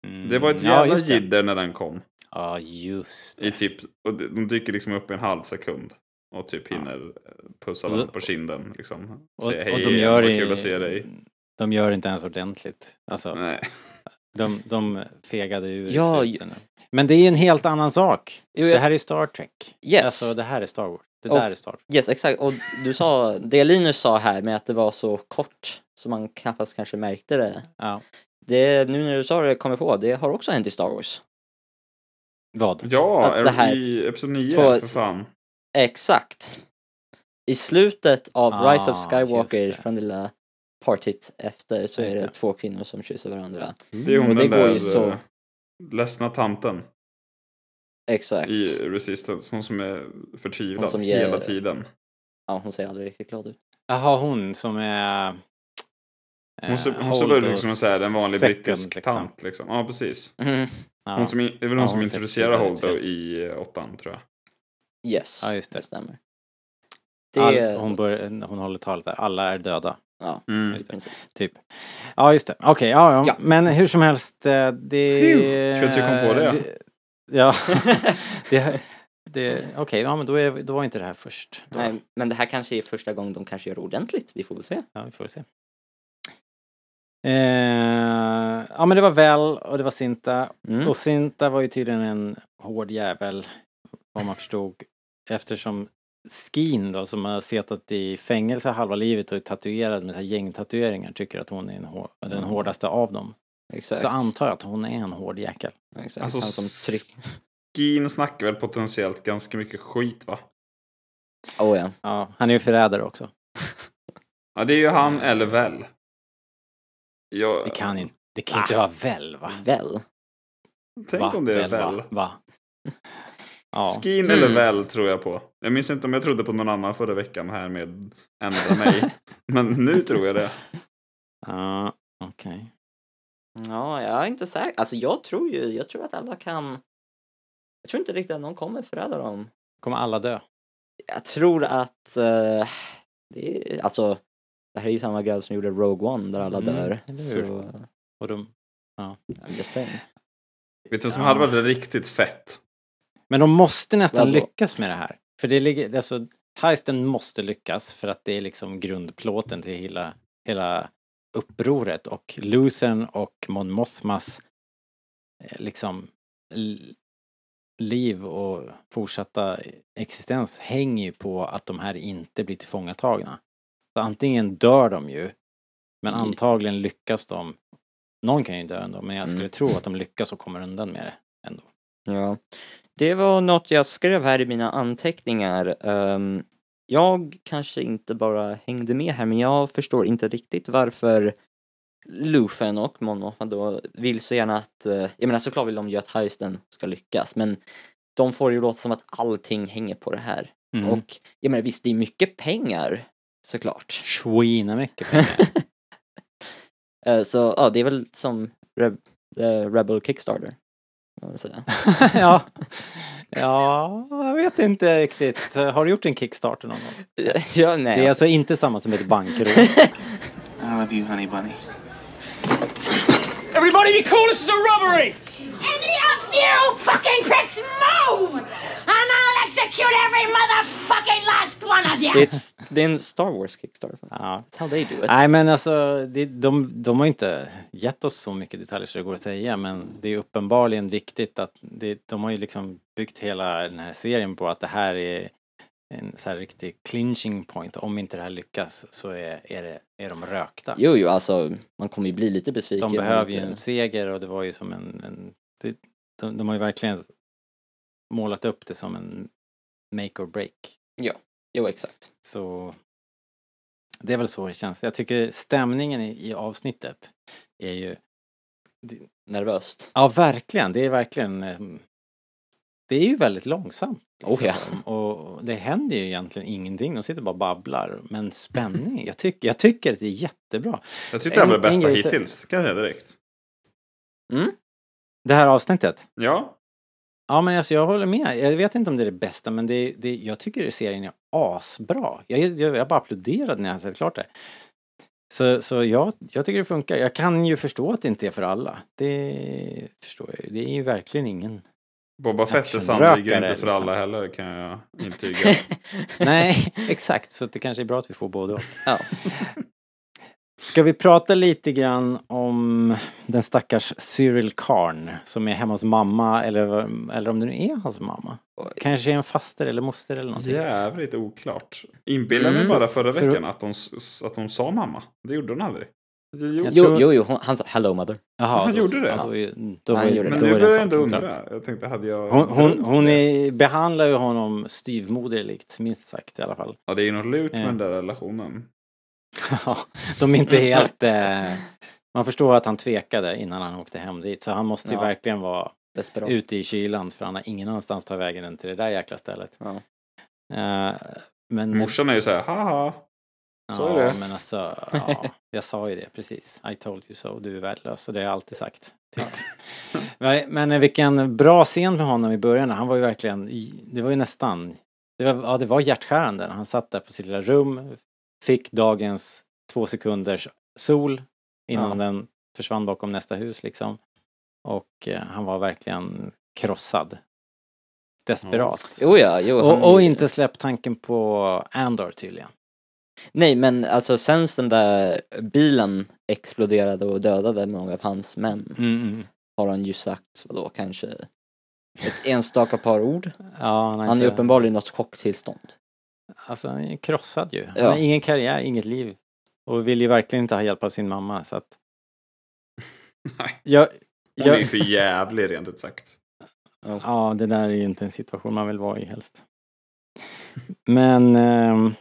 [SPEAKER 1] Mm,
[SPEAKER 3] Det var ett
[SPEAKER 1] ja,
[SPEAKER 3] jävla
[SPEAKER 1] just det.
[SPEAKER 3] jidder när den kom.
[SPEAKER 1] Ja, just
[SPEAKER 3] I
[SPEAKER 1] det.
[SPEAKER 3] typ, och de- de dyker liksom upp i en halv sekund. Och typ hinner eh, pussa
[SPEAKER 1] Och-
[SPEAKER 3] varandra på kinden. Liksom.
[SPEAKER 1] Och, och
[SPEAKER 3] Säga hej,
[SPEAKER 1] de gör
[SPEAKER 3] vad
[SPEAKER 1] i-
[SPEAKER 3] kul att se dig.
[SPEAKER 1] De gör inte ens ordentligt. Alltså,
[SPEAKER 3] Nej.
[SPEAKER 1] de, de fegade ur i
[SPEAKER 4] Ja,
[SPEAKER 1] slutet nu. Men det är ju en helt annan sak.
[SPEAKER 4] Jo,
[SPEAKER 1] Det
[SPEAKER 4] jag,
[SPEAKER 1] här är Star Trek.
[SPEAKER 4] Yes.
[SPEAKER 1] Alltså det här är Star Wars. Det
[SPEAKER 4] Och-
[SPEAKER 1] där är Star Trek.
[SPEAKER 4] yes, exakt. Och du sa, det Linus sa här med att det var så kort så man knappast kanske märkte det.
[SPEAKER 1] Ja.
[SPEAKER 4] det nu när du sa det kommer jag på, det har också hänt i Star Wars.
[SPEAKER 1] Vad?
[SPEAKER 3] Ja,
[SPEAKER 4] Att
[SPEAKER 3] är
[SPEAKER 4] det
[SPEAKER 3] de
[SPEAKER 4] här-
[SPEAKER 3] i episod 9
[SPEAKER 4] Två-
[SPEAKER 3] för fan.
[SPEAKER 4] Exakt. I slutet av
[SPEAKER 1] Ah,
[SPEAKER 4] Rise of Skywalker
[SPEAKER 1] just det.
[SPEAKER 4] från det lilla partyt efter så
[SPEAKER 1] Just
[SPEAKER 4] är det
[SPEAKER 1] det.
[SPEAKER 4] två kvinnor som kysser varandra.
[SPEAKER 3] Det är
[SPEAKER 1] Mm,
[SPEAKER 3] hon
[SPEAKER 4] och det
[SPEAKER 3] den
[SPEAKER 4] går
[SPEAKER 3] där
[SPEAKER 4] ju så-
[SPEAKER 3] eh, ledsna tanten
[SPEAKER 4] Exakt.
[SPEAKER 3] i Resistance. Hon som är förtvivlad
[SPEAKER 4] Hon som ger-
[SPEAKER 3] hela tiden.
[SPEAKER 4] Ja, hon ser aldrig riktigt glad ut.
[SPEAKER 1] Jaha, hon som är...
[SPEAKER 3] Hon, ser, hon
[SPEAKER 1] eh,
[SPEAKER 3] ser ut
[SPEAKER 1] Holdos
[SPEAKER 3] som en, så här, en vanlig
[SPEAKER 1] second,
[SPEAKER 3] brittisk
[SPEAKER 1] liksom.
[SPEAKER 3] tant. Liksom. Ja, precis.
[SPEAKER 4] Mhm.
[SPEAKER 1] Ja.
[SPEAKER 3] Hon som, i- det är väl hon
[SPEAKER 1] Ja,
[SPEAKER 3] som
[SPEAKER 1] hon ser
[SPEAKER 3] introducerar
[SPEAKER 1] precis ut,
[SPEAKER 3] Holdo
[SPEAKER 1] ja.
[SPEAKER 3] i eh, åttan, tror jag.
[SPEAKER 4] Yes,
[SPEAKER 1] Ja, just det.
[SPEAKER 4] stämmer. Det
[SPEAKER 1] All, hon, bör, hon håller talet där, alla är döda.
[SPEAKER 4] ja,
[SPEAKER 3] Mm.
[SPEAKER 4] i princip.
[SPEAKER 1] Typ. Ja, just det. Okej, ja, ja,
[SPEAKER 4] Ja.
[SPEAKER 1] Men hur som helst, eh, det...
[SPEAKER 3] Phew, tror att du kom på det.
[SPEAKER 1] Ja. det, det Okej, ja men då, är, då var inte det här först. Då.
[SPEAKER 4] Nej, men det här kanske är första gången de kanske gör ordentligt. Vi får väl se.
[SPEAKER 1] Ja, vi får se. Eh, ja, men det var Väl och det var Sinta.
[SPEAKER 4] Mm.
[SPEAKER 1] Och Sinta var ju tydligen en hård jävel, vad man förstod. Eftersom Skin då, som har setat i fängelse halva livet och är tatuerad med så här gängtatueringar, tycker att hon är en hår, den hårdaste av dem.
[SPEAKER 4] Exakt.
[SPEAKER 1] Så antar jag att hon är en hård jäkel.
[SPEAKER 4] Exakt.
[SPEAKER 3] Alltså,
[SPEAKER 4] Han som tryck...
[SPEAKER 3] Skin snackar väl potentiellt ganska mycket skit, va?
[SPEAKER 4] Oh, ja.
[SPEAKER 1] Ja, han är ju förrädare också.
[SPEAKER 3] Ja, det är ju han eller väl. Jag,
[SPEAKER 1] Eh. Det kan inte, det kan inte vara väl va?
[SPEAKER 4] Väl?
[SPEAKER 3] Tänk
[SPEAKER 1] va?
[SPEAKER 3] om det är väl.
[SPEAKER 1] Va? va? Ja.
[SPEAKER 3] Skin
[SPEAKER 4] Mm.
[SPEAKER 3] eller väl tror jag på. Jag minns inte om jag trodde på någon annan förra veckan här med ändra mig. Men nu tror jag det.
[SPEAKER 1] ja Okej.
[SPEAKER 4] Ja, jag är inte säker. Alltså jag tror ju, jag tror att alla kan... Jag tror inte riktigt att någon kommer förräda dem.
[SPEAKER 1] Kommer alla dö?
[SPEAKER 4] Jag tror att... eh, det är, alltså, det här är ju samma grabb som gjorde Rogue One där alla
[SPEAKER 1] Mm,
[SPEAKER 4] dör.
[SPEAKER 1] eller
[SPEAKER 4] Så,
[SPEAKER 1] hur? Och de...
[SPEAKER 4] I'm just saying.
[SPEAKER 3] Vet du vad som
[SPEAKER 1] Ja.
[SPEAKER 3] hade varit riktigt fett?
[SPEAKER 1] Men de måste nästan
[SPEAKER 4] Vadå?
[SPEAKER 1] lyckas med det här. För det ligger, alltså, heisten måste lyckas för att det är liksom grundplåten till hela, hela upproret och Luthern och Mon Mothmas eh, liksom l- liv och fortsatta existens hänger ju på att de här inte blir tillfångatagna. Så antingen dör de ju, men
[SPEAKER 4] Mm.
[SPEAKER 1] antagligen lyckas de. Någon kan ju dö ändå, men jag skulle
[SPEAKER 4] Mm.
[SPEAKER 1] tro att de lyckas och kommer undan med det ändå.
[SPEAKER 4] Ja. Det var något jag skrev här i mina anteckningar. Ehm, jag kanske inte bara hängde med här, men jag förstår inte riktigt varför Lufen och Monofa då vill så gärna att, eh, jag menar såklart vill de ju att heisten ska lyckas, men de får ju låta som att allting hänger på det här.
[SPEAKER 1] Mm.
[SPEAKER 4] Och jag menar visst, det är mycket pengar såklart.
[SPEAKER 1] Svina mycket pengar.
[SPEAKER 4] Eh, så ja, det är väl som Reb- eh, Rebel Kickstarter. kan man väl säga.
[SPEAKER 1] ja. ja, jag vet inte riktigt. Har du gjort en Kickstarter någon gång?
[SPEAKER 4] ja, nej.
[SPEAKER 1] Det är alltså inte samma som ett bankrån.
[SPEAKER 5] I love you, honey bunny.
[SPEAKER 7] Any of you fucking pricks move! And I'll execute every motherfucking last one of you!
[SPEAKER 4] It's, det är en Star Wars Kickstarter.
[SPEAKER 1] Ja.
[SPEAKER 4] That's how they do it.
[SPEAKER 1] Nej men alltså, det, de, de har ju inte gett oss så mycket detaljer så det går att säga men det är uppenbarligen viktigt att det, de har ju liksom byggt hela den här serien på att det här är en så här riktig clinching point. Om inte det här lyckas så är, är, det, är de rökta.
[SPEAKER 4] Jo, jo, alltså man kommer ju bli lite besviken.
[SPEAKER 1] De behöver ju
[SPEAKER 4] lite-
[SPEAKER 1] en seger och det var ju som en... en det, de, de har ju verkligen målat upp det som en make or break.
[SPEAKER 4] Jo, exakt.
[SPEAKER 1] Så det är väl så det känns. Jag tycker stämningen i, i avsnittet är ju...
[SPEAKER 4] Nervöst.
[SPEAKER 1] Ja, verkligen. Det är verkligen... eh, Det är ju väldigt långsamt.
[SPEAKER 4] Oh ja.
[SPEAKER 1] Och det händer ju egentligen ingenting. De sitter bara och babblar. Men spänningen, jag, tycker jag tycker att det är jättebra.
[SPEAKER 3] Jag tyckte det var
[SPEAKER 1] En-
[SPEAKER 3] det
[SPEAKER 1] en
[SPEAKER 3] bästa
[SPEAKER 1] grej så-
[SPEAKER 3] hittills. Kan jag säga direkt.
[SPEAKER 4] Mm.
[SPEAKER 1] Det här avsnittet?
[SPEAKER 3] Ja,
[SPEAKER 1] Ja, men alltså jag håller med. Jag vet inte om det är det bästa, men det, det, jag tycker serien är asbra. Jag, jag, jag bara applåderade när jag sett klart det. Så, så jag, jag tycker det funkar. Jag kan ju förstå att det inte är för alla. Det förstår jag ju. Det är ju verkligen ingen...
[SPEAKER 3] Boba Fett är sannolikt inte
[SPEAKER 1] Actionrökare,
[SPEAKER 3] för
[SPEAKER 1] liksom.
[SPEAKER 3] alla heller kan jag intyga.
[SPEAKER 1] Nej, exakt. Så att det kanske är bra att vi får både och.
[SPEAKER 4] Ja.
[SPEAKER 1] Ska vi prata lite grann om den stackars Cyril Karn som är hemma hos mamma eller, eller om det nu är hans mamma. Kanske är en faster eller moster eller någonting. Mm.
[SPEAKER 3] Jävligt oklart. Inbillade mig bara förra veckan att hon, s- att hon sa mamma. Det gjorde hon aldrig. Det gjorde...
[SPEAKER 1] Jag
[SPEAKER 4] Jo,
[SPEAKER 1] tror-
[SPEAKER 4] jo, jo, hon, han sa hello mother.
[SPEAKER 1] Jaha,
[SPEAKER 3] Han
[SPEAKER 1] då-
[SPEAKER 3] gjorde det.
[SPEAKER 1] ja, Då, är ju- då,
[SPEAKER 4] Han
[SPEAKER 1] är-
[SPEAKER 4] gjorde
[SPEAKER 1] då
[SPEAKER 3] Men
[SPEAKER 1] är
[SPEAKER 3] nu
[SPEAKER 1] den
[SPEAKER 3] börjar jag ändå
[SPEAKER 1] saken klar.
[SPEAKER 3] undra. Jag tänkte, hade jag...
[SPEAKER 1] Hon, hon,
[SPEAKER 3] drömt
[SPEAKER 1] hon
[SPEAKER 3] det?
[SPEAKER 1] är, behandlar ju honom styvmoderligt, minst sagt i alla fall.
[SPEAKER 3] Ja, det är ju något lurt med
[SPEAKER 1] Ja.
[SPEAKER 3] den där relationen.
[SPEAKER 1] Ja, De är inte helt... Eh, man förstår att han tvekade innan han åkte hem dit. Så han måste ju
[SPEAKER 4] Ja.
[SPEAKER 1] verkligen vara
[SPEAKER 4] Desperat.
[SPEAKER 1] ute i kylan för han har ingen annanstans att ta vägen än till det där jäkla stället.
[SPEAKER 4] Ja.
[SPEAKER 1] Eh, men,
[SPEAKER 3] Morsan är ju så här, haha. så är
[SPEAKER 1] ja,
[SPEAKER 3] det.
[SPEAKER 1] men alltså, ja, jag sa ju det precis. I told you so, du är värdelös. Och det har jag alltid sagt. Typ. Nej, men eh, vilken bra scen med honom i början. Han var ju verkligen, i- det var ju nästan, det var, ja det var hjärtskärande. när Han satt där på sitt lilla rum, fick dagens två sekunders sol innan
[SPEAKER 4] Ja.
[SPEAKER 1] den försvann bakom nästa hus liksom. Och eh, han var verkligen krossad. Desperat.
[SPEAKER 4] Jo, ja, jo, han-
[SPEAKER 1] Och, och inte släppt tanken på Andor tydligen.
[SPEAKER 4] Nej, men alltså sen den där bilen exploderade och dödade många av hans män har han ju sagt, vadå, kanske ett enstaka par ord.
[SPEAKER 1] Ja, han, har
[SPEAKER 4] Han är
[SPEAKER 1] inte-
[SPEAKER 4] uppenbarligen i något chocktillstånd.
[SPEAKER 1] Alltså han är krossad ju. Han
[SPEAKER 4] Ja.
[SPEAKER 1] har ingen karriär, inget liv. Och vill ju verkligen inte ha hjälp av sin mamma så att...
[SPEAKER 3] Nej.
[SPEAKER 1] Jag,
[SPEAKER 3] Hon är ju
[SPEAKER 1] jag,
[SPEAKER 3] för jävlig rent ut sagt.
[SPEAKER 1] ja, det där är ju inte en situation man vill vara i helst. Men... ehm,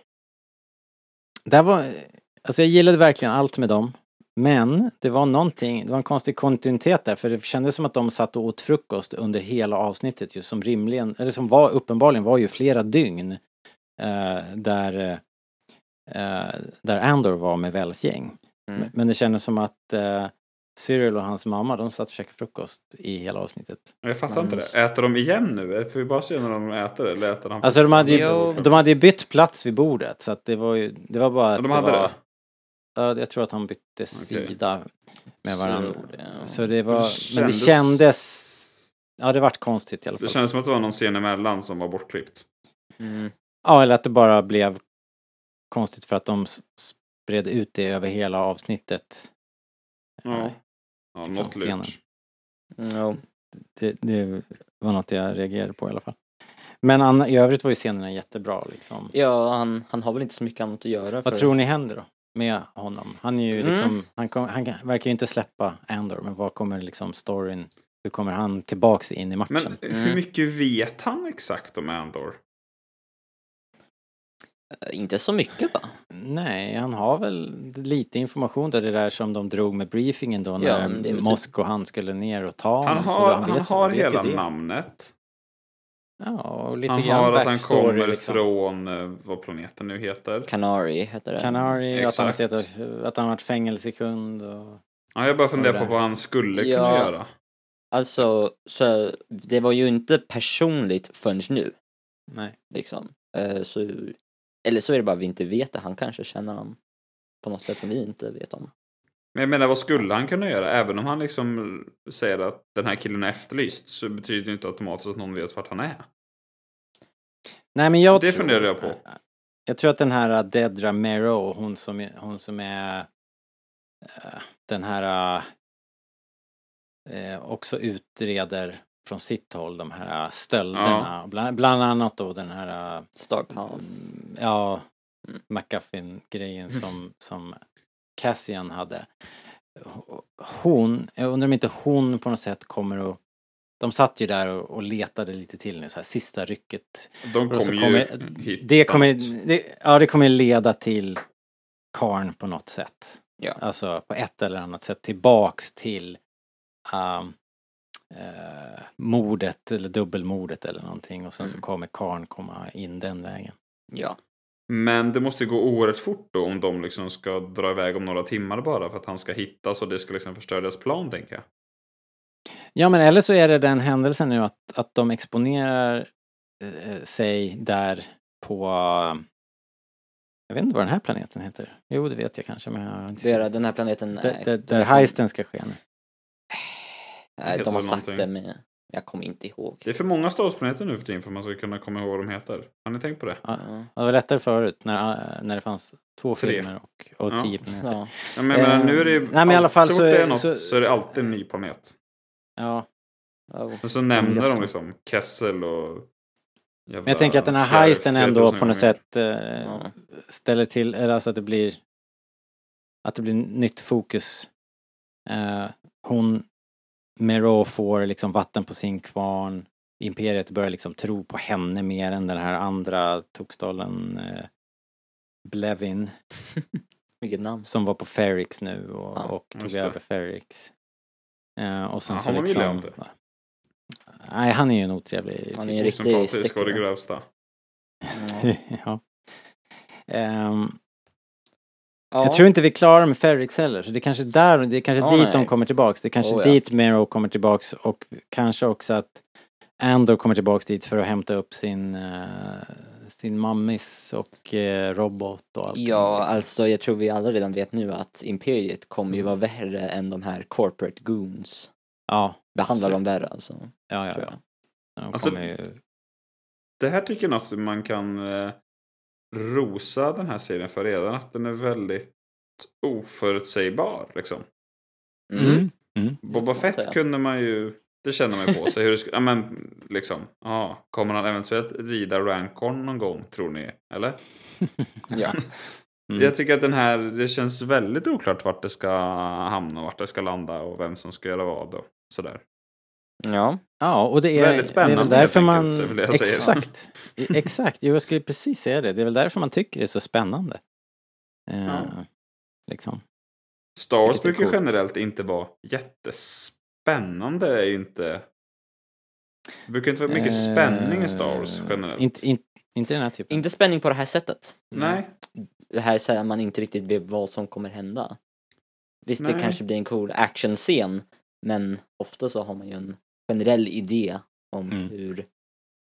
[SPEAKER 1] det här var... Alltså jag gillade verkligen allt med dem. Men det var någonting, det var en konstig kontinuitet där för det kändes som att de satt och åt frukost under hela avsnittet ju som rimligen, eller som var uppenbarligen var ju flera dygn. eh, där, eh, där Andor var med Wells gäng.
[SPEAKER 4] Mm.
[SPEAKER 1] Men- Men det kändes som att eh, Cyril och hans mamma, de satt och käkade frukost i hela avsnittet.
[SPEAKER 3] Jag fattar
[SPEAKER 4] Man
[SPEAKER 3] inte det.
[SPEAKER 4] måste-
[SPEAKER 3] Äter de igen nu? Får vi bara se när de äter? Eller äter han
[SPEAKER 1] Alltså de hade ju,
[SPEAKER 4] Jo.
[SPEAKER 1] de hade ju bytt plats vid bordet så att det var ju, det var bara...
[SPEAKER 3] Ja,
[SPEAKER 1] att
[SPEAKER 3] de hade
[SPEAKER 1] var,
[SPEAKER 3] det?
[SPEAKER 1] Ja, jag tror att han bytte
[SPEAKER 3] Okej.
[SPEAKER 1] sida med varandra.
[SPEAKER 4] Så, ja.
[SPEAKER 1] Så det var,
[SPEAKER 3] Det
[SPEAKER 1] men det
[SPEAKER 3] kändes-
[SPEAKER 1] kändes... Ja, det vart konstigt i alla
[SPEAKER 3] Det
[SPEAKER 1] fall.
[SPEAKER 3] kändes som att det var någon scen emellan som var bortklippt.
[SPEAKER 4] Mm.
[SPEAKER 1] Ja, eller att det bara blev konstigt för att de s- spred ut det över hela avsnittet.
[SPEAKER 3] Ja, ja
[SPEAKER 1] Liksom
[SPEAKER 3] något
[SPEAKER 1] scenen.
[SPEAKER 3] lurt.
[SPEAKER 4] mm, Jo.
[SPEAKER 1] det, det var något jag reagerade på i alla fall. Men anna, i övrigt var ju scenerna jättebra liksom.
[SPEAKER 4] Ja, han, han har väl inte så mycket annat att göra.
[SPEAKER 1] Vad tror ni händer då? Med honom? Han är ju
[SPEAKER 4] Mm.
[SPEAKER 1] liksom, han, kom, han kan- verkar ju inte släppa Andor, men vad kommer liksom storyn, hur kommer han tillbaks in i matchen?
[SPEAKER 3] Men
[SPEAKER 1] Mm.
[SPEAKER 3] hur mycket vet han exakt om Andor?
[SPEAKER 4] Eh, Inte så mycket va?
[SPEAKER 1] Nej, han har väl lite information där, det där som de drog med briefingen då
[SPEAKER 4] Ja,
[SPEAKER 1] när
[SPEAKER 4] men det är väl typ-
[SPEAKER 1] Mosk och han skulle ner och ta
[SPEAKER 3] Han
[SPEAKER 1] honom, så
[SPEAKER 3] har,
[SPEAKER 1] vet-
[SPEAKER 3] han har
[SPEAKER 1] vet ju
[SPEAKER 3] hela
[SPEAKER 1] det.
[SPEAKER 3] namnet.
[SPEAKER 1] Ja, och lite
[SPEAKER 3] han
[SPEAKER 1] grann
[SPEAKER 3] har att han
[SPEAKER 1] backstory,
[SPEAKER 3] kommer
[SPEAKER 1] liksom.
[SPEAKER 3] från eh, vad planeten nu heter.
[SPEAKER 4] Canary heter det.
[SPEAKER 1] Canary, att han, har
[SPEAKER 3] Exakt.
[SPEAKER 1] suttit- att han har varit fängelsekund och...
[SPEAKER 3] Ja, jag bara funderar
[SPEAKER 1] Vad är det?
[SPEAKER 3] på vad han skulle
[SPEAKER 4] Ja.
[SPEAKER 3] kunna göra.
[SPEAKER 4] Alltså, så det var ju inte personligt förrän nu,
[SPEAKER 1] Nej.
[SPEAKER 4] liksom. Eh, Så, eller så är det bara vi inte vet det, han kanske känner honom på något sätt som vi inte vet om.
[SPEAKER 3] Men jag menar, vad skulle han kunna göra? Även om han liksom säger att den här killen är efterlyst så betyder det inte automatiskt att någon vet vart han är.
[SPEAKER 1] Nej men jag
[SPEAKER 3] Det
[SPEAKER 1] tror,
[SPEAKER 3] funderar jag på.
[SPEAKER 1] Jag tror att den här äh, Dedra Mero, hon som är, hon som är eh, den här eh, eh, också utreder från sitt håll de här äh, stölderna. Bland, bland annat då den här eh,
[SPEAKER 4] Star Power.
[SPEAKER 1] Mm, Ja,
[SPEAKER 4] Mm.
[SPEAKER 1] McGuffin-grejen
[SPEAKER 3] Mm.
[SPEAKER 1] som, som Cassian hade. Hon, jag undrar om inte hon på något sätt kommer att... De satt ju där och, och letade lite till nu, så här sista rycket.
[SPEAKER 3] De
[SPEAKER 1] Och så
[SPEAKER 3] kommer ju
[SPEAKER 1] kommer-
[SPEAKER 3] hitta
[SPEAKER 1] Det kommer,
[SPEAKER 3] något.
[SPEAKER 1] det, ja, det kommer leda till Karn på något sätt.
[SPEAKER 4] Ja.
[SPEAKER 1] Alltså på ett eller annat sätt tillbaks till um, eh, mordet eller dubbelmordet eller någonting och sen
[SPEAKER 4] Mm.
[SPEAKER 1] så kommer Karn komma in den vägen.
[SPEAKER 4] Ja.
[SPEAKER 3] Men det måste ju gå oerhört fort då om de liksom ska dra iväg om några timmar bara för att han ska hittas och det ska liksom förstöra deras plan tänker jag.
[SPEAKER 1] Ja men eller så är det den händelsen nu att, att de exponerar eh, sig där på... um, Jag vet inte vad den här planeten heter. Jo det vet jag kanske men jag har inte...
[SPEAKER 4] Det är den här planeten...
[SPEAKER 1] där,
[SPEAKER 4] nej,
[SPEAKER 1] där,
[SPEAKER 4] de
[SPEAKER 1] där
[SPEAKER 4] kom-
[SPEAKER 1] heisten ska ske nu.
[SPEAKER 4] nej,
[SPEAKER 3] heter
[SPEAKER 4] De har
[SPEAKER 3] det
[SPEAKER 4] sagt det
[SPEAKER 3] någonting.
[SPEAKER 4] men jag kommer inte ihåg.
[SPEAKER 3] Det är för många stadsplaneter nu för tiden för att man ska kunna komma ihåg vad de heter. Har ni tänkt på det?
[SPEAKER 1] Ja.
[SPEAKER 4] Ja.
[SPEAKER 1] Det var lättare förut när, eh, när det fanns två
[SPEAKER 3] Tre.
[SPEAKER 1] filmer och, och
[SPEAKER 3] Ja.
[SPEAKER 1] tio planeter.
[SPEAKER 4] Ja.
[SPEAKER 3] Ja, men jag menar,
[SPEAKER 1] Ehm,
[SPEAKER 3] nu är det ju...
[SPEAKER 1] nej, men i alla fall
[SPEAKER 3] så
[SPEAKER 1] så
[SPEAKER 3] fort det
[SPEAKER 1] är-
[SPEAKER 3] är något
[SPEAKER 1] så-
[SPEAKER 3] så... är det alltid en ny planet.
[SPEAKER 1] Ja. Eh.
[SPEAKER 4] Oh.
[SPEAKER 3] Och så nämner
[SPEAKER 4] just
[SPEAKER 3] de
[SPEAKER 4] det.
[SPEAKER 3] liksom Kessel och...
[SPEAKER 1] Mm, Men jag tänker att den här heisten ändå på något sätt eh,
[SPEAKER 4] Ja.
[SPEAKER 1] ställer till, eller alltså att det blir att det blir nytt fokus. Eh, hon, Mero får liksom vatten på sin kvarn. Imperiet börjar liksom tro på henne mer än den här andra tokstollen eh, Blevin
[SPEAKER 4] Vilket namn.
[SPEAKER 1] som var på Ferrix nu och,
[SPEAKER 4] Ja,
[SPEAKER 1] och tog
[SPEAKER 3] just det.
[SPEAKER 1] över Ferrix. Eh, och sen
[SPEAKER 3] Ja,
[SPEAKER 1] så
[SPEAKER 3] honom
[SPEAKER 1] liksom...
[SPEAKER 3] gillar jag inte.
[SPEAKER 1] Nej, han är ju en otrevlig
[SPEAKER 4] Han
[SPEAKER 1] typ.
[SPEAKER 4] är en riktig
[SPEAKER 3] Osympatisk å det
[SPEAKER 4] stickare.
[SPEAKER 3] grövsta.
[SPEAKER 4] Ja.
[SPEAKER 1] ja. Ehm,
[SPEAKER 4] Ja.
[SPEAKER 1] Jag tror inte vi är klara med Ferrix heller, så det är kanske där, det är kanske
[SPEAKER 4] Ja,
[SPEAKER 1] dit
[SPEAKER 4] nej.
[SPEAKER 1] de kommer tillbaks. Det är kanske
[SPEAKER 4] Oh, ja.
[SPEAKER 1] dit Mero kommer tillbaks och kanske också att Andor kommer tillbaks dit för att hämta upp sin, eh, sin mammis och eh, robot och allt.
[SPEAKER 4] Ja,
[SPEAKER 1] liksom.
[SPEAKER 4] alltså jag tror vi alla redan vet nu att Imperiet kommer ju vara värre än de här corporate goons.
[SPEAKER 1] ja,
[SPEAKER 4] Behandlar dem värre alltså.
[SPEAKER 1] ja, ja.
[SPEAKER 4] tror
[SPEAKER 1] ja.
[SPEAKER 4] jag.
[SPEAKER 1] De
[SPEAKER 3] Alltså-
[SPEAKER 1] kommer ju...
[SPEAKER 3] Det här tycker jag att man kan eh, rosa den här serien för redan. Att den är väldigt oförutsägbar liksom.
[SPEAKER 1] mm.
[SPEAKER 3] Boba
[SPEAKER 4] får man
[SPEAKER 3] Fett
[SPEAKER 4] säga.
[SPEAKER 3] kunde man ju... Det känner man ju på sig. Hur det skulle, ja, men, liksom, ja, kommer han eventuellt rida Rancorn någon gång tror ni? Eller?
[SPEAKER 4] Ja.
[SPEAKER 1] Mm.
[SPEAKER 3] Jag tycker att den här, det känns väldigt oklart vart det ska hamna och vart det ska landa och vem som ska göra vad och sådär.
[SPEAKER 4] Ja.
[SPEAKER 1] Ja, och det är,
[SPEAKER 3] Väldigt spännande,
[SPEAKER 1] det är väl därför
[SPEAKER 3] helt
[SPEAKER 1] man...
[SPEAKER 3] enkelt, så vill jag säga.
[SPEAKER 1] Exakt. I- Exakt, jo, jag skulle precis säga det. Det är väl därför man tycker det är så spännande. Eh,
[SPEAKER 3] Ja.
[SPEAKER 1] Liksom.
[SPEAKER 3] Star Wars
[SPEAKER 1] Vilket är
[SPEAKER 3] brukar
[SPEAKER 1] coolt.
[SPEAKER 3] generellt inte vara jättespännande. Är ju inte... Det brukar inte vara mycket
[SPEAKER 1] Eh,
[SPEAKER 3] spänning i Star Wars generellt.
[SPEAKER 1] Inte, inte, inte den här typen.
[SPEAKER 4] Inte spänning på det här sättet.
[SPEAKER 3] Mm. Nej,
[SPEAKER 4] Det här säger man inte riktigt vet vad som kommer hända. Visst, det
[SPEAKER 3] Nej.
[SPEAKER 4] kanske blir en cool actionscen, men ofta så har man ju en generell idé om
[SPEAKER 1] Mm.
[SPEAKER 4] hur,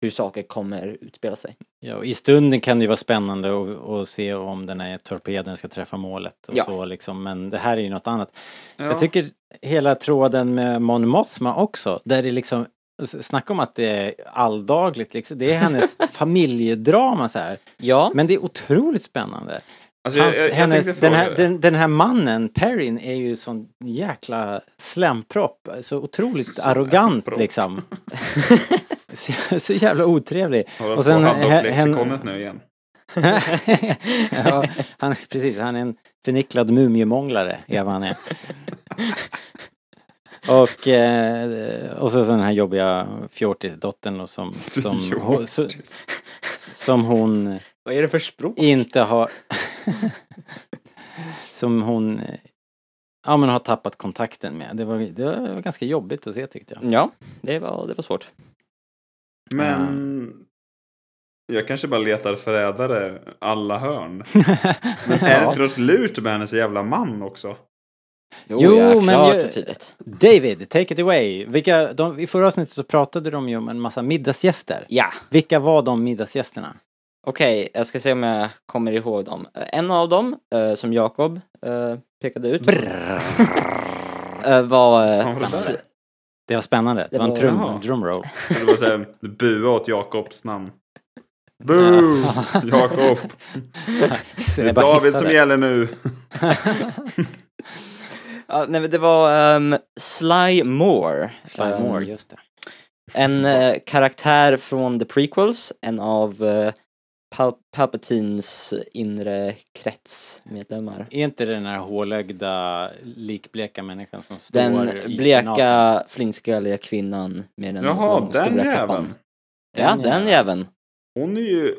[SPEAKER 4] hur saker kommer utspela sig.
[SPEAKER 1] Ja, och I stunden kan det ju vara spännande att- att se om den här torpeden ska träffa målet. Och
[SPEAKER 4] Ja.
[SPEAKER 1] så liksom. Men det här är ju något annat.
[SPEAKER 3] ja.
[SPEAKER 1] Jag tycker hela tråden med Mon Mothma också, där det liksom s- Snacka om att det är alldagligt liksom. Det är hennes familjedrama så här.
[SPEAKER 4] Ja,
[SPEAKER 1] Men det är otroligt spännande.
[SPEAKER 3] Alltså,
[SPEAKER 1] Hans, hennes,
[SPEAKER 3] tänkte
[SPEAKER 1] den,
[SPEAKER 3] fråga
[SPEAKER 1] här,
[SPEAKER 3] det.
[SPEAKER 1] den, den här mannen, Perrin, är ju sån jäkla slämpropp. Så otroligt arrogant
[SPEAKER 3] Slämpropp.
[SPEAKER 1] liksom. så, så jävla otrevlig.
[SPEAKER 3] Håller
[SPEAKER 1] och sen
[SPEAKER 3] på att hadda upp
[SPEAKER 1] hen- hen-
[SPEAKER 3] lexikonet nu igen.
[SPEAKER 1] ja, han, precis, han är en förnicklad mumiemånglare, är vad han är. Och, eh, och så, så den här jobbiga fjortisdottern och som, som, ho, så, som hon
[SPEAKER 4] vad är det för språk?
[SPEAKER 1] inte har... som hon... eh, Ja men har tappat kontakten med. Det var, det var ganska jobbigt att se tyckte jag.
[SPEAKER 4] Ja, det var, det var svårt.
[SPEAKER 3] Men... Jag kanske bara letar förrädare alla hörn. Men är det inte något lurt med hennes jävla man också?
[SPEAKER 1] Jo,
[SPEAKER 4] ja,
[SPEAKER 1] men
[SPEAKER 4] klart
[SPEAKER 1] ju-
[SPEAKER 4] och tydligt.
[SPEAKER 1] David, take it away! Vilka, de, I förra avsnittet så pratade de ju om en massa middagsgäster.
[SPEAKER 4] Ja,
[SPEAKER 1] Vilka var de middagsgästerna?
[SPEAKER 4] okej, jag ska se om jag kommer ihåg dem. Eh, En av dem, eh, som Jakob eh, pekade ut, eh, var... eh,
[SPEAKER 3] Fan, vad det
[SPEAKER 4] s-
[SPEAKER 3] där är.
[SPEAKER 1] Det var spännande. Det var en
[SPEAKER 4] var-
[SPEAKER 1] trum,
[SPEAKER 3] Jaha.
[SPEAKER 1] drumroll.
[SPEAKER 3] Eller vad säger jag? Bua åt Jakobs namn. Boo! Jakob!
[SPEAKER 1] Så
[SPEAKER 3] Det är
[SPEAKER 1] jag bara
[SPEAKER 3] David
[SPEAKER 1] hissade.
[SPEAKER 3] som gäller nu.
[SPEAKER 4] ja, nej, men det var ehm, Sly Moore.
[SPEAKER 1] Sly
[SPEAKER 4] Ehm,
[SPEAKER 3] Mm.
[SPEAKER 1] Moore, just det.
[SPEAKER 4] En eh, karaktär från The Prequels, en av eh, Pal- Palpatines inre kretsmedlemmar.
[SPEAKER 1] Är inte det den här hålögda, likbleka människan som står i
[SPEAKER 4] Den
[SPEAKER 1] senaten?
[SPEAKER 4] bleka, flintskalliga kvinnan med den
[SPEAKER 3] Jaha,
[SPEAKER 4] långstora
[SPEAKER 3] den
[SPEAKER 4] kappan.
[SPEAKER 3] jäveln.
[SPEAKER 4] Ja,
[SPEAKER 1] Den
[SPEAKER 4] den
[SPEAKER 1] jäveln.
[SPEAKER 4] jäveln.
[SPEAKER 3] Hon är ju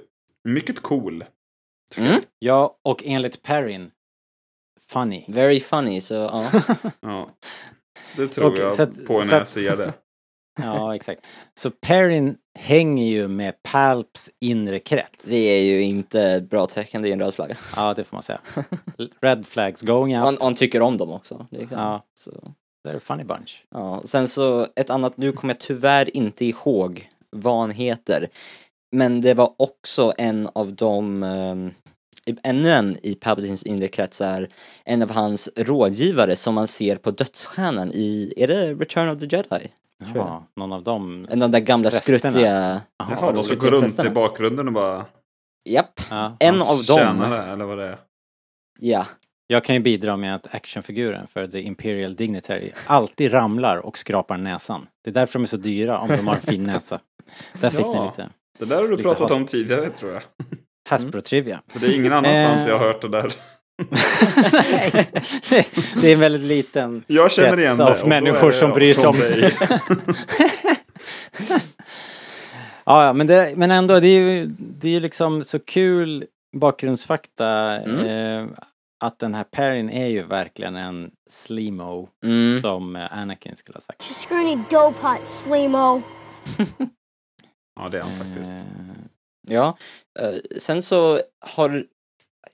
[SPEAKER 3] mycket cool.
[SPEAKER 4] Mm.
[SPEAKER 1] Ja, och enligt Perrin, funny.
[SPEAKER 4] Very funny, så ja.
[SPEAKER 3] Ja. Det tror
[SPEAKER 1] Okej,
[SPEAKER 3] jag
[SPEAKER 1] så att-
[SPEAKER 3] på när
[SPEAKER 1] så
[SPEAKER 3] jag
[SPEAKER 1] att-
[SPEAKER 3] ser det.
[SPEAKER 1] Ja, exakt. Så Perrin hänger ju med Palps inre krets.
[SPEAKER 4] Det är ju inte ett bra tecken, det är en röd flagga.
[SPEAKER 1] Ja, det får man säga. Red flags going out.
[SPEAKER 4] Han, han tycker om dem också. Det kan,
[SPEAKER 1] Ja.
[SPEAKER 4] så.
[SPEAKER 1] They're a funny bunch.
[SPEAKER 4] Ja, sen så ett annat, nu kommer jag tyvärr inte ihåg vad han heter. Men det var också en av de, ehm, i- ännu en i Palpatines inre kretsar, en av hans rådgivare som man ser på dödsstjärnan i, är det Return of the Jedi?
[SPEAKER 1] Ja, någon av dem.
[SPEAKER 4] En av de där gamla
[SPEAKER 1] Prästerna.
[SPEAKER 4] skruttiga...
[SPEAKER 1] Jaha,
[SPEAKER 3] Jaha, de
[SPEAKER 4] de
[SPEAKER 3] som
[SPEAKER 4] går
[SPEAKER 3] går runt
[SPEAKER 4] prästerna.
[SPEAKER 3] i bakgrunden och bara...
[SPEAKER 4] Japp,
[SPEAKER 1] Ja.
[SPEAKER 4] en
[SPEAKER 3] hans
[SPEAKER 4] av dem.
[SPEAKER 3] Tjänare, eller vad det är.
[SPEAKER 4] Ja,
[SPEAKER 1] Jag kan ju bidra med att actionfiguren för The Imperial Dignitary alltid ramlar och skrapar näsan. Det är därför de är så dyra om de har en fin näsa. Där fick
[SPEAKER 3] Ja.
[SPEAKER 1] ni lite
[SPEAKER 3] Det där har du
[SPEAKER 1] Lite
[SPEAKER 3] pratat
[SPEAKER 1] has-
[SPEAKER 3] om tidigare tror jag.
[SPEAKER 1] Hasbro-trivia.
[SPEAKER 3] För det är ingen annanstans
[SPEAKER 1] Eh.
[SPEAKER 3] jag har hört det där.
[SPEAKER 1] Nej, det- det är en väldigt liten...
[SPEAKER 3] Jag känner
[SPEAKER 1] Krets
[SPEAKER 3] igen
[SPEAKER 1] av
[SPEAKER 3] det. och då är
[SPEAKER 1] människor
[SPEAKER 3] det
[SPEAKER 1] som bryr sig
[SPEAKER 3] från
[SPEAKER 1] om-
[SPEAKER 3] dig.
[SPEAKER 1] Ja, ja, men, det, men ändå, det är ju det är ju liksom så kul bakgrundsfakta.
[SPEAKER 4] Mm.
[SPEAKER 1] Eh, att den här Perrin är ju verkligen en slimo
[SPEAKER 4] mm,
[SPEAKER 1] som eh, Anakin skulle ha sagt.
[SPEAKER 5] You scrawny dope hot slimo.
[SPEAKER 3] Ja, det är han faktiskt.
[SPEAKER 1] Eh,
[SPEAKER 4] ja. Eh, Sen så har,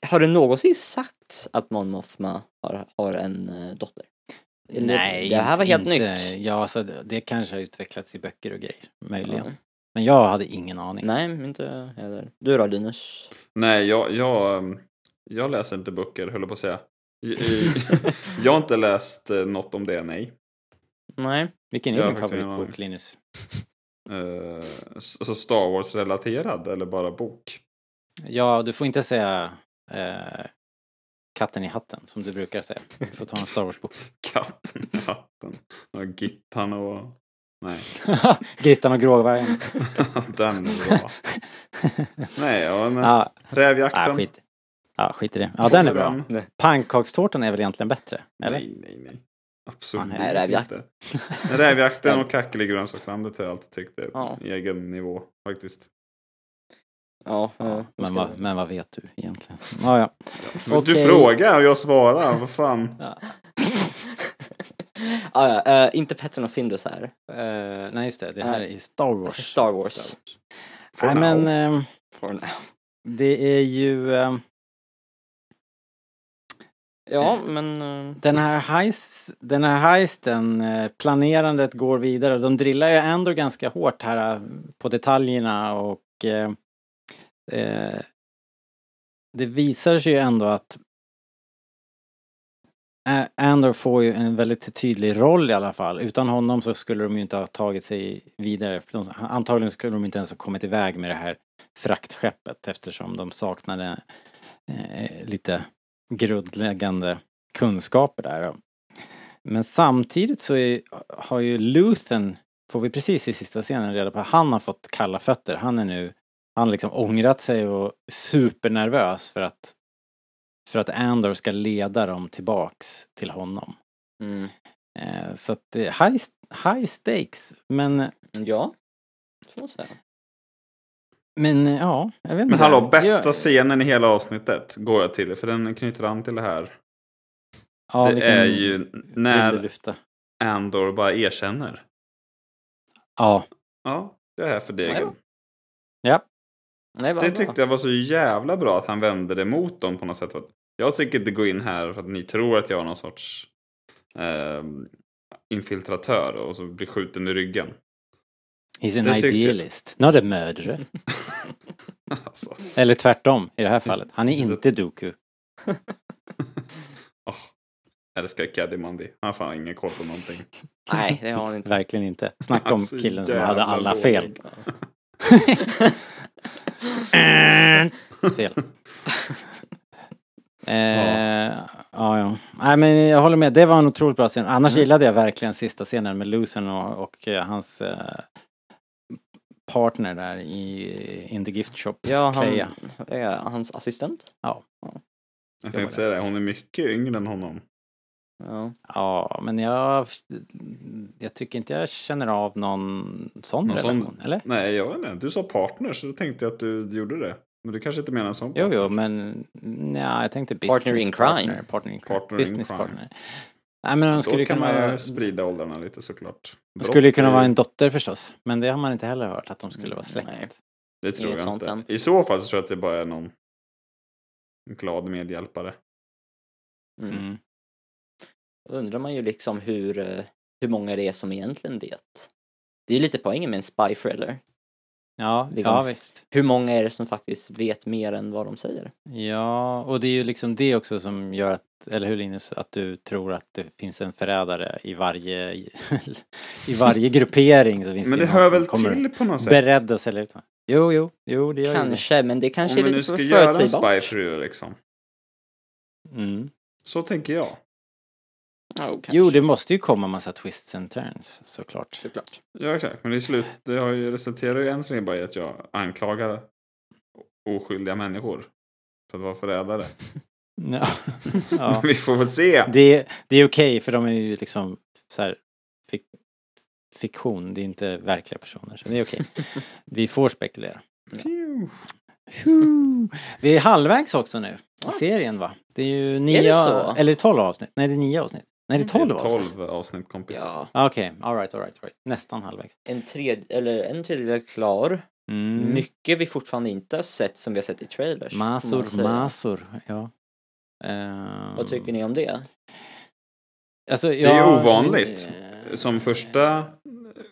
[SPEAKER 4] har det någonsin sagts att Mon Mothma har, har en eh, dotter? Eller-
[SPEAKER 1] Nej,
[SPEAKER 4] det här var helt
[SPEAKER 1] inte.
[SPEAKER 4] nytt.
[SPEAKER 1] Ja, alltså, det det kanske har utvecklats i böcker och grejer, möjligen.
[SPEAKER 4] Ja.
[SPEAKER 1] Men jag hade ingen aning.
[SPEAKER 4] Nej, inte jag heller. Du då Linus?
[SPEAKER 3] Nej, jag, jag, ehm, jag läser inte böcker, höll jag på att säga. I- i- jag har inte läst eh, något om det, nej.
[SPEAKER 4] Nej.
[SPEAKER 1] Vilken
[SPEAKER 3] Jag
[SPEAKER 1] är
[SPEAKER 3] har
[SPEAKER 1] din
[SPEAKER 3] faktiskt ingen
[SPEAKER 1] favoritbok, Linus?
[SPEAKER 3] Eh, s- så Star Wars-relaterad eller bara bok?
[SPEAKER 1] Ja, du får inte säga eh, Katten i hatten, som du brukar säga. Du får ta en Star Wars-bok.
[SPEAKER 3] Katten i hatten. Ja, Gittan och... Nej,
[SPEAKER 1] Grittan och gråvargen.
[SPEAKER 3] den är bra. Nej, ja, nej.
[SPEAKER 1] Ja, ah,
[SPEAKER 3] Rävjakten.
[SPEAKER 1] skit. Ja, skit i det. Ja, den är bra.
[SPEAKER 3] Åldern.
[SPEAKER 1] Pannkakstårtan är väl egentligen bättre? Eller?
[SPEAKER 3] Nej, nej, nej. Absolut
[SPEAKER 1] Nej,
[SPEAKER 3] inte.
[SPEAKER 4] rävjakten.
[SPEAKER 3] rävjakten och kackel i grönsakslandet har jag alltid tyckt är
[SPEAKER 4] Ja.
[SPEAKER 3] egen nivå faktiskt.
[SPEAKER 4] Ja. eh,
[SPEAKER 1] Men, vad, men vad vet du egentligen? Ja, ja.
[SPEAKER 3] Men Du
[SPEAKER 1] Okej.
[SPEAKER 3] frågar och jag svarar, vad fan.
[SPEAKER 4] ah, ja, eh, inte Petter och Findus här.
[SPEAKER 1] Eh, nej, just det. Det här är Star Wars.
[SPEAKER 4] Star Wars.
[SPEAKER 3] For
[SPEAKER 1] Nej,
[SPEAKER 3] now.
[SPEAKER 1] men... ehm,
[SPEAKER 4] For now.
[SPEAKER 1] Det är ju eh,
[SPEAKER 4] Ja, men... eh,
[SPEAKER 1] den här, heist, den här heisten, eh, planerandet går vidare. De drillar ju ändå ganska hårt här eh, på detaljerna och eh, eh, det visar sig ju ändå att A- Andor får ju en väldigt tydlig roll i alla fall. Utan honom så skulle de ju inte ha tagit sig vidare. För De, antagligen skulle de inte ens ha kommit iväg med det här fraktskeppet eftersom de saknade eh, lite grundläggande kunskaper där. Men samtidigt så är, har ju Luthen, får vi precis i sista scenen reda på, han har fått kalla fötter. Han är nu, han har liksom ångrat sig och supernervös för att för att Andor ska leda dem tillbaks till honom.
[SPEAKER 4] mm.
[SPEAKER 1] Eh, så att det är high, high stakes. Men,
[SPEAKER 4] Ja. Så måste jag säga.
[SPEAKER 1] men eh, ja, jag vet inte.
[SPEAKER 3] Men hallå, bästa
[SPEAKER 1] Ja,
[SPEAKER 3] scenen i hela avsnittet går jag till, för den knyter an till det här.
[SPEAKER 1] ja,
[SPEAKER 3] det
[SPEAKER 1] vilken
[SPEAKER 3] är ju
[SPEAKER 1] vill du
[SPEAKER 3] när
[SPEAKER 1] lyfta?
[SPEAKER 3] Andor bara erkänner.
[SPEAKER 1] Ja,
[SPEAKER 3] Ja, jag är här för
[SPEAKER 4] Ja,
[SPEAKER 3] degen.
[SPEAKER 4] ja. Nej, vad
[SPEAKER 3] Det
[SPEAKER 4] bra.
[SPEAKER 3] tyckte jag var så jävla bra att han vände det mot dem på något sätt. För att Jag tänker inte gå in här för att ni tror att jag är någon sorts eh, infiltratör och så blir skjuten i ryggen.
[SPEAKER 1] he's an
[SPEAKER 3] Det tyckte-
[SPEAKER 1] idealist, not a murderer.
[SPEAKER 3] Alltså,
[SPEAKER 1] Eller tvärtom i det här
[SPEAKER 3] Precis.
[SPEAKER 1] fallet. Han är
[SPEAKER 3] Precis.
[SPEAKER 1] inte Dooku.
[SPEAKER 3] åh, jag älskar Caddy Mundy. Han har fan ingen koll på någonting.
[SPEAKER 4] Nej, det har han inte.
[SPEAKER 1] Verkligen inte. Snacka om
[SPEAKER 3] Alltså,
[SPEAKER 1] killen som
[SPEAKER 3] jävla
[SPEAKER 1] hade alla
[SPEAKER 3] dålig.
[SPEAKER 1] fel. fel. Eh, ja. ja, Nej, men jag håller med. Det var en otroligt bra scen. Annars
[SPEAKER 3] Mm.
[SPEAKER 1] gillade jag verkligen sista scenen med Luthen och, och eh, hans eh, partner där i In the Gift Shop.
[SPEAKER 4] Ja, han,
[SPEAKER 1] Cleia.
[SPEAKER 4] ja, hans assistent.
[SPEAKER 3] Jag tänkte säga det, hon är mycket yngre än honom.
[SPEAKER 4] Ja.
[SPEAKER 1] Ja, men jag, jag tycker inte jag känner av någon sån
[SPEAKER 3] Någon sån-
[SPEAKER 1] relation, eller?
[SPEAKER 3] Nej, jag vet inte. Du sa partner, så då tänkte jag att du gjorde det. Men du kanske inte menar en sån
[SPEAKER 1] Jo,
[SPEAKER 3] partner.
[SPEAKER 1] jo, men nja, jag tänkte business
[SPEAKER 4] Partner in crime.
[SPEAKER 1] Partner, partner in crime.
[SPEAKER 3] Partner in
[SPEAKER 1] business
[SPEAKER 3] crime.
[SPEAKER 1] partner. Nej, men hon skulle
[SPEAKER 3] Då
[SPEAKER 1] ju
[SPEAKER 3] kan
[SPEAKER 1] kunna,
[SPEAKER 3] man
[SPEAKER 1] vara-
[SPEAKER 3] ju sprida åldrarna lite såklart.
[SPEAKER 1] hon skulle ju
[SPEAKER 3] Brott
[SPEAKER 1] kunna
[SPEAKER 3] är-
[SPEAKER 1] vara en dotter förstås. Men det har man inte heller hört, att de skulle vara släkt.
[SPEAKER 4] Mm, Nej.
[SPEAKER 3] Det tror
[SPEAKER 4] Inget
[SPEAKER 3] jag
[SPEAKER 4] sånt
[SPEAKER 3] inte.
[SPEAKER 4] än.
[SPEAKER 3] I så fall så tror jag att det bara är någon glad medhjälpare.
[SPEAKER 4] Mm.
[SPEAKER 1] Mm.
[SPEAKER 4] Då undrar man ju liksom hur, eh, hur många det är som egentligen vet. Det är lite poängen med en spy thriller.
[SPEAKER 1] Ja,
[SPEAKER 4] Liksom.
[SPEAKER 1] ja visst.
[SPEAKER 4] Hur många är det som faktiskt vet mer än vad de säger?
[SPEAKER 1] Ja, och det är ju liksom det också som gör att, eller hur Linus, att du tror att det finns en förrädare i varje, i varje gruppering. Så finns
[SPEAKER 3] Men det
[SPEAKER 1] någon
[SPEAKER 3] hör
[SPEAKER 1] som
[SPEAKER 3] väl
[SPEAKER 1] kommer
[SPEAKER 3] till på något sätt?
[SPEAKER 1] Beredd att sälja ut honom. Jo, jo, jo, det gör ju det.
[SPEAKER 4] Kanske, men det kanske
[SPEAKER 3] Om vi
[SPEAKER 4] är
[SPEAKER 3] nu
[SPEAKER 4] lite för
[SPEAKER 3] ska göra en
[SPEAKER 4] förutsägbart.
[SPEAKER 3] spy thriller liksom.
[SPEAKER 1] Mm.
[SPEAKER 3] Så tänker jag.
[SPEAKER 4] Ja, kanske.
[SPEAKER 1] Jo, det måste ju komma massa twists and turns såklart.
[SPEAKER 4] Såklart.
[SPEAKER 3] Ja, exakt. Men i slut, det har ju resulterat ju än så länge bara i att jag anklagar oskyldiga människor för att vara förrädare.
[SPEAKER 1] Ja. ja.
[SPEAKER 3] Men vi får väl se.
[SPEAKER 1] Det, det är okej för de är ju liksom så här, fik, fiktion, det är inte verkliga personer. Så det är okej. Vi får spekulera.
[SPEAKER 3] Phew.
[SPEAKER 1] Phew. Vi är halvvägs också nu i serien va? Det är ju nio,
[SPEAKER 4] så?
[SPEAKER 1] eller tolv avsnitt. Nej det är nio avsnitt. Nej det är
[SPEAKER 3] Det är
[SPEAKER 1] tolv avsnitt.
[SPEAKER 3] 12 avsnitt kompis.
[SPEAKER 4] Ja.
[SPEAKER 1] Ah, Okej, okay. alright, alright, all right. Nästan halvvägs.
[SPEAKER 4] En, tredje, eller en tredjedel klar.
[SPEAKER 1] Mm.
[SPEAKER 4] Mycket vi fortfarande inte har sett som vi har sett i trailers. får man
[SPEAKER 1] Masor,
[SPEAKER 4] säga.
[SPEAKER 1] masor, ja. Ehm,
[SPEAKER 4] Vad tycker ni om det?
[SPEAKER 1] Alltså,
[SPEAKER 3] Det är ju
[SPEAKER 1] ja,
[SPEAKER 3] ovanligt.
[SPEAKER 1] eh,
[SPEAKER 3] Som första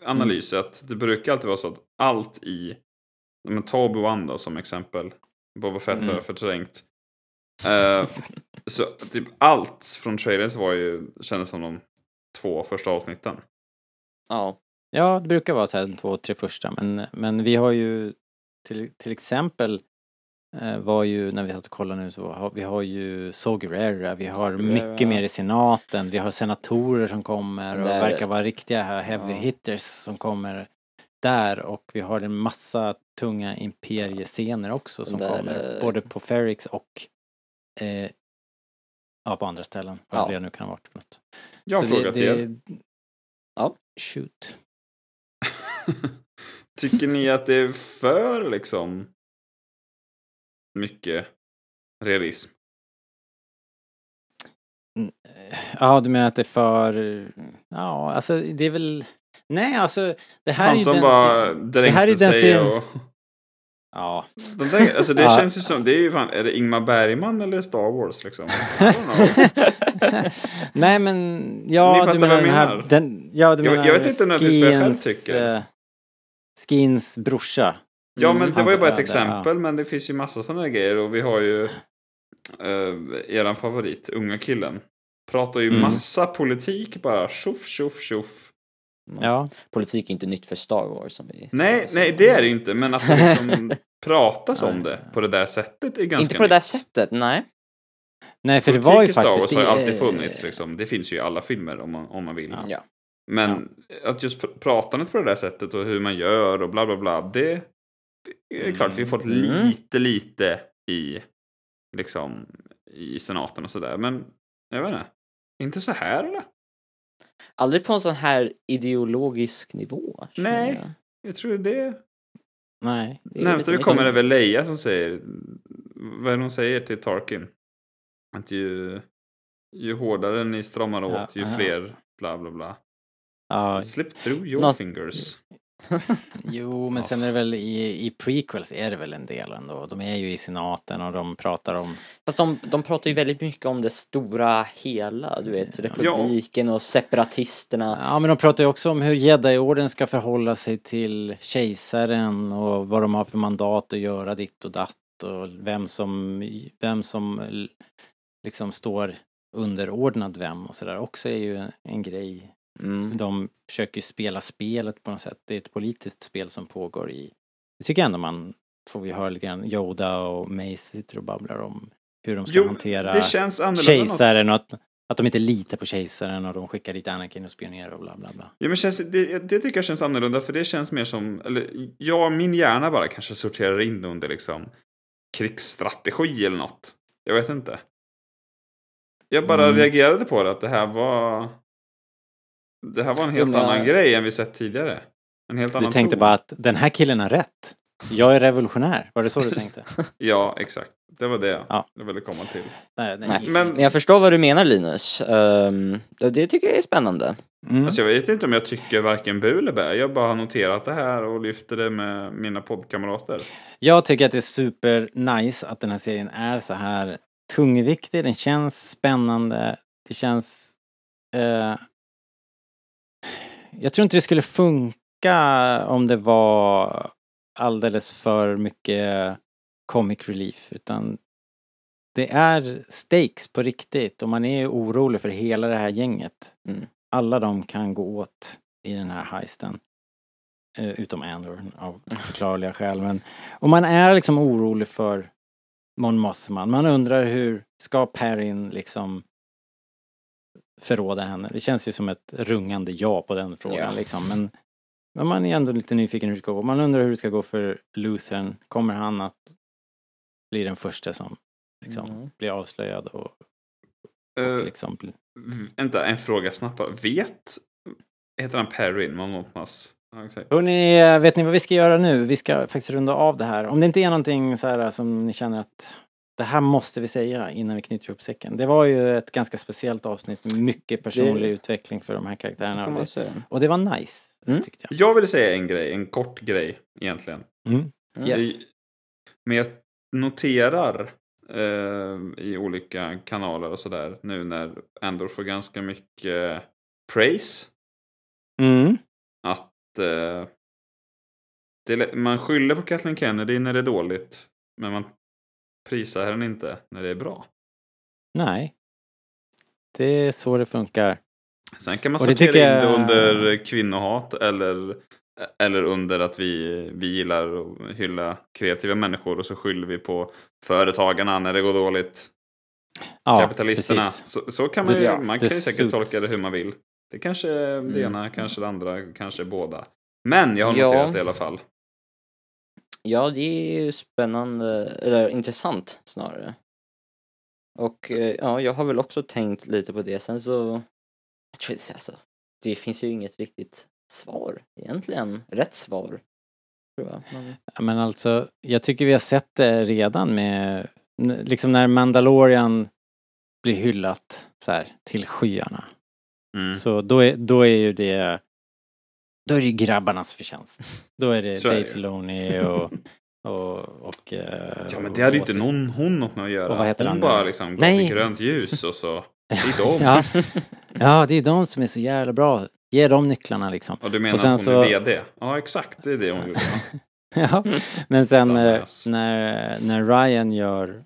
[SPEAKER 3] analys att det brukar alltid vara så att allt i, men ta Obi-Wan då som exempel, Boba Fett
[SPEAKER 1] Mm.
[SPEAKER 3] har jag förträngt. Eh, så typ allt från trailers var ju, kändes som de två första avsnitten.
[SPEAKER 4] Ja.
[SPEAKER 1] Ja, det brukar vara så här de två, tre första. Men, men vi har ju till, till exempel eh, var ju, när vi satt och kollade nu, så var, vi har ju Sogurera, vi har mycket mer i senaten, vi har senatorer som kommer och
[SPEAKER 4] Där-
[SPEAKER 1] verkar vara riktiga här heavy
[SPEAKER 4] Ja.
[SPEAKER 1] hitters som kommer där och vi har en massa tunga imperiescener också som
[SPEAKER 4] Där,
[SPEAKER 1] kommer,
[SPEAKER 4] eh,
[SPEAKER 1] både på Ferrix och eh, ja, på andra ställen, vad
[SPEAKER 4] Ja.
[SPEAKER 1] det nu kan ha varit för något.
[SPEAKER 3] Jag har
[SPEAKER 1] Så
[SPEAKER 3] en fråga till er.
[SPEAKER 4] Ja.
[SPEAKER 1] Shoot.
[SPEAKER 3] Tycker ni att det är för liksom mycket realism?
[SPEAKER 1] Ja, du menar att det är för... Ja, alltså det är väl... Nej, alltså det här är
[SPEAKER 3] Han
[SPEAKER 1] ju
[SPEAKER 3] som
[SPEAKER 1] den...
[SPEAKER 3] bara
[SPEAKER 1] här är
[SPEAKER 3] dränkte
[SPEAKER 1] ju den
[SPEAKER 3] sig
[SPEAKER 1] serien-
[SPEAKER 3] och...
[SPEAKER 1] Ja.
[SPEAKER 3] De där, alltså det
[SPEAKER 1] Ja.
[SPEAKER 3] känns ju som, det är ju fan, är det Ingmar Bergman eller Star Wars liksom? I don't
[SPEAKER 1] Mm,
[SPEAKER 3] know.
[SPEAKER 1] Nej, men...
[SPEAKER 3] Ni
[SPEAKER 1] Ja,
[SPEAKER 3] fattar
[SPEAKER 1] du
[SPEAKER 3] vad
[SPEAKER 1] menar
[SPEAKER 3] jag
[SPEAKER 1] den här...
[SPEAKER 3] menar.
[SPEAKER 1] Den, ja, du
[SPEAKER 3] Jag-
[SPEAKER 1] menar
[SPEAKER 3] jag vet inte nödvändigtvis vad jag själv
[SPEAKER 1] Skins,
[SPEAKER 3] tycker.
[SPEAKER 1] eh, Skins brorsa.
[SPEAKER 3] Ja
[SPEAKER 1] Mm,
[SPEAKER 3] men det
[SPEAKER 1] han
[SPEAKER 3] var ju
[SPEAKER 1] som
[SPEAKER 3] bara ett
[SPEAKER 1] dödade,
[SPEAKER 3] exempel men det finns ju massa sådana här grejer och vi har ju eh, eran favorit, unga killen. Pratar ju
[SPEAKER 1] Mm.
[SPEAKER 3] massa politik bara, tjoff tjoff tjoff.
[SPEAKER 1] Ja.
[SPEAKER 4] Politik är inte nytt för Star Wars som vi...
[SPEAKER 3] Nej,
[SPEAKER 4] som-
[SPEAKER 3] nej det är det ju inte men att det liksom pratas om det på det där sättet är ganska
[SPEAKER 4] Inte på det där sättet, nej.
[SPEAKER 1] Nej, för det
[SPEAKER 3] Politik
[SPEAKER 1] var ju
[SPEAKER 3] i Star
[SPEAKER 1] faktiskt...
[SPEAKER 3] Wars har ju
[SPEAKER 1] i-
[SPEAKER 3] alltid funnits liksom. Det finns ju i alla filmer om man, om man vill.
[SPEAKER 1] Ja.
[SPEAKER 4] Ja.
[SPEAKER 3] Men att just pr- pratandet på det där sättet och hur man gör och bla bla bla. Det är klart vi har fått
[SPEAKER 4] Mm.
[SPEAKER 3] lite lite i liksom i senaten och sådär. Men jag vet inte. Inte så här eller?
[SPEAKER 4] Aldrig på en sån här ideologisk nivå. känner
[SPEAKER 3] Nej.
[SPEAKER 4] jag.
[SPEAKER 3] Jag tror det.
[SPEAKER 1] Nej.
[SPEAKER 4] Det är
[SPEAKER 3] Närmast
[SPEAKER 4] lite
[SPEAKER 3] vi kommer är
[SPEAKER 4] mycket.
[SPEAKER 3] väl Leia som säger. Vad är det hon säger till Tarkin? Att ju, ju hårdare ni stramar åt
[SPEAKER 1] Ja,
[SPEAKER 3] ju
[SPEAKER 1] aha.
[SPEAKER 3] fler bla bla bla.
[SPEAKER 1] Ja,
[SPEAKER 3] Slip through your
[SPEAKER 4] Nå-
[SPEAKER 3] fingers.
[SPEAKER 1] Jo, men sen är det väl i, i prequels är det väl en del ändå. De är ju i senaten och de pratar om...
[SPEAKER 4] Fast de, de pratar ju väldigt mycket om det stora hela, du vet, republiken och separatisterna.
[SPEAKER 1] Ja, men de pratar ju också om hur jedi-orden ska förhålla sig till kejsaren och vad de har för mandat att göra ditt och datt och vem som, vem som l- liksom står underordnad vem och sådär också är ju en, en grej.
[SPEAKER 4] Mm.
[SPEAKER 1] De försöker ju spela spelet på något sätt. Det är ett politiskt spel som pågår i... Det tycker jag ändå man får vi höra lite grann. Yoda och Mace sitter och babblar om hur de ska
[SPEAKER 3] Jo,
[SPEAKER 1] hantera
[SPEAKER 3] det känns annorlunda. än något-
[SPEAKER 1] kejsaren och att, att de inte litar på kejsaren och de skickar dit Anakin och spionerar och bla bla bla.
[SPEAKER 3] Ja, men känns, det, det tycker jag känns annorlunda för det känns mer som, eller ja, min hjärna bara kanske sorterar in det under liksom krigsstrategi eller något. Jag vet inte. Jag bara
[SPEAKER 1] Mm.
[SPEAKER 3] reagerade på det att det här var, det här var en helt
[SPEAKER 4] men-
[SPEAKER 3] annan grej än vi sett tidigare. En helt
[SPEAKER 1] Du
[SPEAKER 3] annan
[SPEAKER 1] tänkte
[SPEAKER 3] ton.
[SPEAKER 1] bara att den här killen har rätt. Jag är revolutionär. Var det så du tänkte?
[SPEAKER 3] Ja, exakt. Det var det
[SPEAKER 1] Ja. Mm.
[SPEAKER 3] jag ville komma till.
[SPEAKER 1] Nej, nej.
[SPEAKER 4] Nej.
[SPEAKER 3] Men
[SPEAKER 4] Men jag förstår vad du menar Linus. Ehm, och det tycker jag är spännande.
[SPEAKER 1] Mm.
[SPEAKER 3] alltså, jag vet inte om jag tycker varken bu eller bä. Jag bara har noterat det här och lyfter det med mina poddkamrater.
[SPEAKER 1] Jag tycker att det är super nice att den här serien är så här tungviktig. Den känns spännande. Det känns eh, jag tror inte det skulle funka om det var alldeles för mycket comic relief utan det är stakes på riktigt och man är ju orolig för hela det här gänget.
[SPEAKER 4] Mm.
[SPEAKER 1] Alla de kan gå åt i den här heisten. Eh, utom Andor av förklarliga skäl. Men, och man är liksom orolig för Mon Mothman. Man undrar hur ska Perrin liksom förråda henne? Det känns ju som ett rungande ja på den frågan
[SPEAKER 4] Ja.
[SPEAKER 1] liksom. Men, men man är ändå lite nyfiken hur det ska gå. Man undrar hur det ska gå för Luthern. Kommer han att bli den första som liksom
[SPEAKER 4] Mm.
[SPEAKER 1] blir avslöjad och,
[SPEAKER 3] Eh,
[SPEAKER 1] och liksom bli-
[SPEAKER 3] v- vänta, en fråga snabbt bara. Vet... Heter han Perrin? Man måste... Ja, exakt.
[SPEAKER 1] Hörrni, eh, vet ni vad vi ska göra nu? Vi ska faktiskt runda av det här. Om det inte är någonting så här eh, som ni känner att det här måste vi säga innan vi knyter ihop säcken. Det var ju ett ganska speciellt avsnitt med mycket personlig
[SPEAKER 4] Det-
[SPEAKER 1] utveckling för de här
[SPEAKER 4] Det
[SPEAKER 1] karaktärerna.
[SPEAKER 4] får
[SPEAKER 1] Och
[SPEAKER 4] man
[SPEAKER 1] det,
[SPEAKER 4] säga.
[SPEAKER 1] och det var nice,
[SPEAKER 4] Mm.
[SPEAKER 1] tyckte
[SPEAKER 3] Jag vill säga en grej, en kort grej egentligen.
[SPEAKER 1] jag.
[SPEAKER 4] Mm.
[SPEAKER 1] Yes.
[SPEAKER 3] I- Men jag noterar eh, i olika kanaler och sådär nu när Andor får ganska mycket praise
[SPEAKER 1] Mm.
[SPEAKER 3] att eh, det, är lä- man skyller på Kathleen Kennedy när det är dåligt men man prisar henne inte när det är bra.
[SPEAKER 1] Nej. Det är så det funkar.
[SPEAKER 3] Sen kan man
[SPEAKER 1] Och det
[SPEAKER 3] sortera
[SPEAKER 1] tycker
[SPEAKER 3] in det
[SPEAKER 1] jag-
[SPEAKER 3] under kvinnohat eller, eller under att vi, vi gillar att hylla kreativa människor och så skyller vi på företagarna när det går dåligt.
[SPEAKER 1] Ja,
[SPEAKER 3] kapitalisterna.
[SPEAKER 1] precis.
[SPEAKER 3] Så, så kan man ju,
[SPEAKER 1] Det-
[SPEAKER 3] man
[SPEAKER 1] det Mm.
[SPEAKER 3] kan ju säkert
[SPEAKER 1] suits.
[SPEAKER 3] tolka det hur man vill. Det kanske är det ena, kanske det andra, kanske båda. Men jag har
[SPEAKER 4] Ja.
[SPEAKER 3] noterat det i alla fall.
[SPEAKER 4] Ja, det är ju spännande, eller intressant snarare. Och eh, ja, jag har väl också tänkt lite på det. Sen så, jag tror, inte- alltså, det finns ju inget riktigt svar egentligen. Rätt svar. Tror jag. Men,
[SPEAKER 1] Ja, Men alltså, jag tycker vi har sett det redan med, n- liksom när Mandalorian blir hyllat så här till skyarna.
[SPEAKER 3] Mm.
[SPEAKER 1] Så då är, då är ju det, då är det ju grabbarnas förtjänst. Då är det
[SPEAKER 3] Så är det
[SPEAKER 1] Dave
[SPEAKER 3] ju.
[SPEAKER 1] Filoni och, och, och... eh,
[SPEAKER 3] Ja men det hade ju
[SPEAKER 1] och-
[SPEAKER 3] inte någon, hon något med att göra.
[SPEAKER 1] Och vad heter
[SPEAKER 3] hon
[SPEAKER 1] han nu?
[SPEAKER 3] bara liksom gav
[SPEAKER 1] Nej.
[SPEAKER 3] det grönt ljus och så. Det är dem.
[SPEAKER 1] Ja. ja, det är de som är så jävla bra. Ge dem nycklarna liksom.
[SPEAKER 3] Och du menar
[SPEAKER 1] Och sen
[SPEAKER 3] att hon
[SPEAKER 1] så-
[SPEAKER 3] är vd? Ja exakt, det är det hon gjorde.
[SPEAKER 1] Ja. Men sen eh,
[SPEAKER 3] Dumbass.
[SPEAKER 1] när, när Ryan gör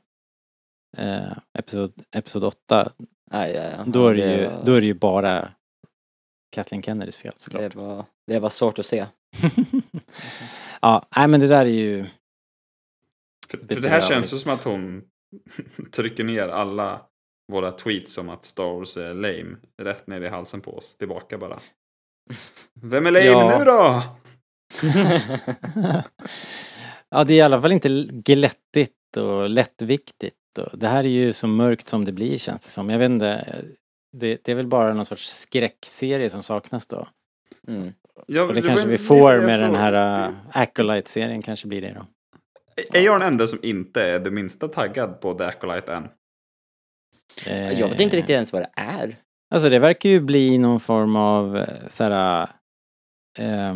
[SPEAKER 1] eh, episod, episod 8,
[SPEAKER 4] aj, aj, aj,
[SPEAKER 1] då är, det ju,
[SPEAKER 4] var-
[SPEAKER 1] då är det ju bara Kathleen Kennedys fel såklart.
[SPEAKER 4] det, var, det var svårt att se.
[SPEAKER 1] ja, nej men det där är ju...
[SPEAKER 3] För, för det här
[SPEAKER 1] Bedrövligt.
[SPEAKER 3] känns ju som att hon trycker ner alla våra tweets om att Star Wars är lame. Rätt ner i halsen på oss, tillbaka bara. Vem är lame
[SPEAKER 1] Ja.
[SPEAKER 3] nu då?
[SPEAKER 1] ja, det är i alla fall inte glättigt och lättviktigt. Och det här är ju så mörkt som det blir känns det som. Jag vet inte, det, det är väl bara någon sorts skräckserie som saknas då.
[SPEAKER 4] Mm.
[SPEAKER 3] Ja,
[SPEAKER 1] Och
[SPEAKER 3] det
[SPEAKER 1] det
[SPEAKER 3] var
[SPEAKER 1] kanske vi
[SPEAKER 3] lite
[SPEAKER 1] får
[SPEAKER 3] det jag
[SPEAKER 1] med den
[SPEAKER 3] frågade.
[SPEAKER 1] här uh, Acolyte-serien kanske blir det då.
[SPEAKER 3] Är jag den enda som inte är det minsta taggad på The Acolyte än?
[SPEAKER 1] Eh,
[SPEAKER 4] Jag vet inte riktigt ens vad det är.
[SPEAKER 1] Alltså det verkar ju bli någon form av eh, så här, eh,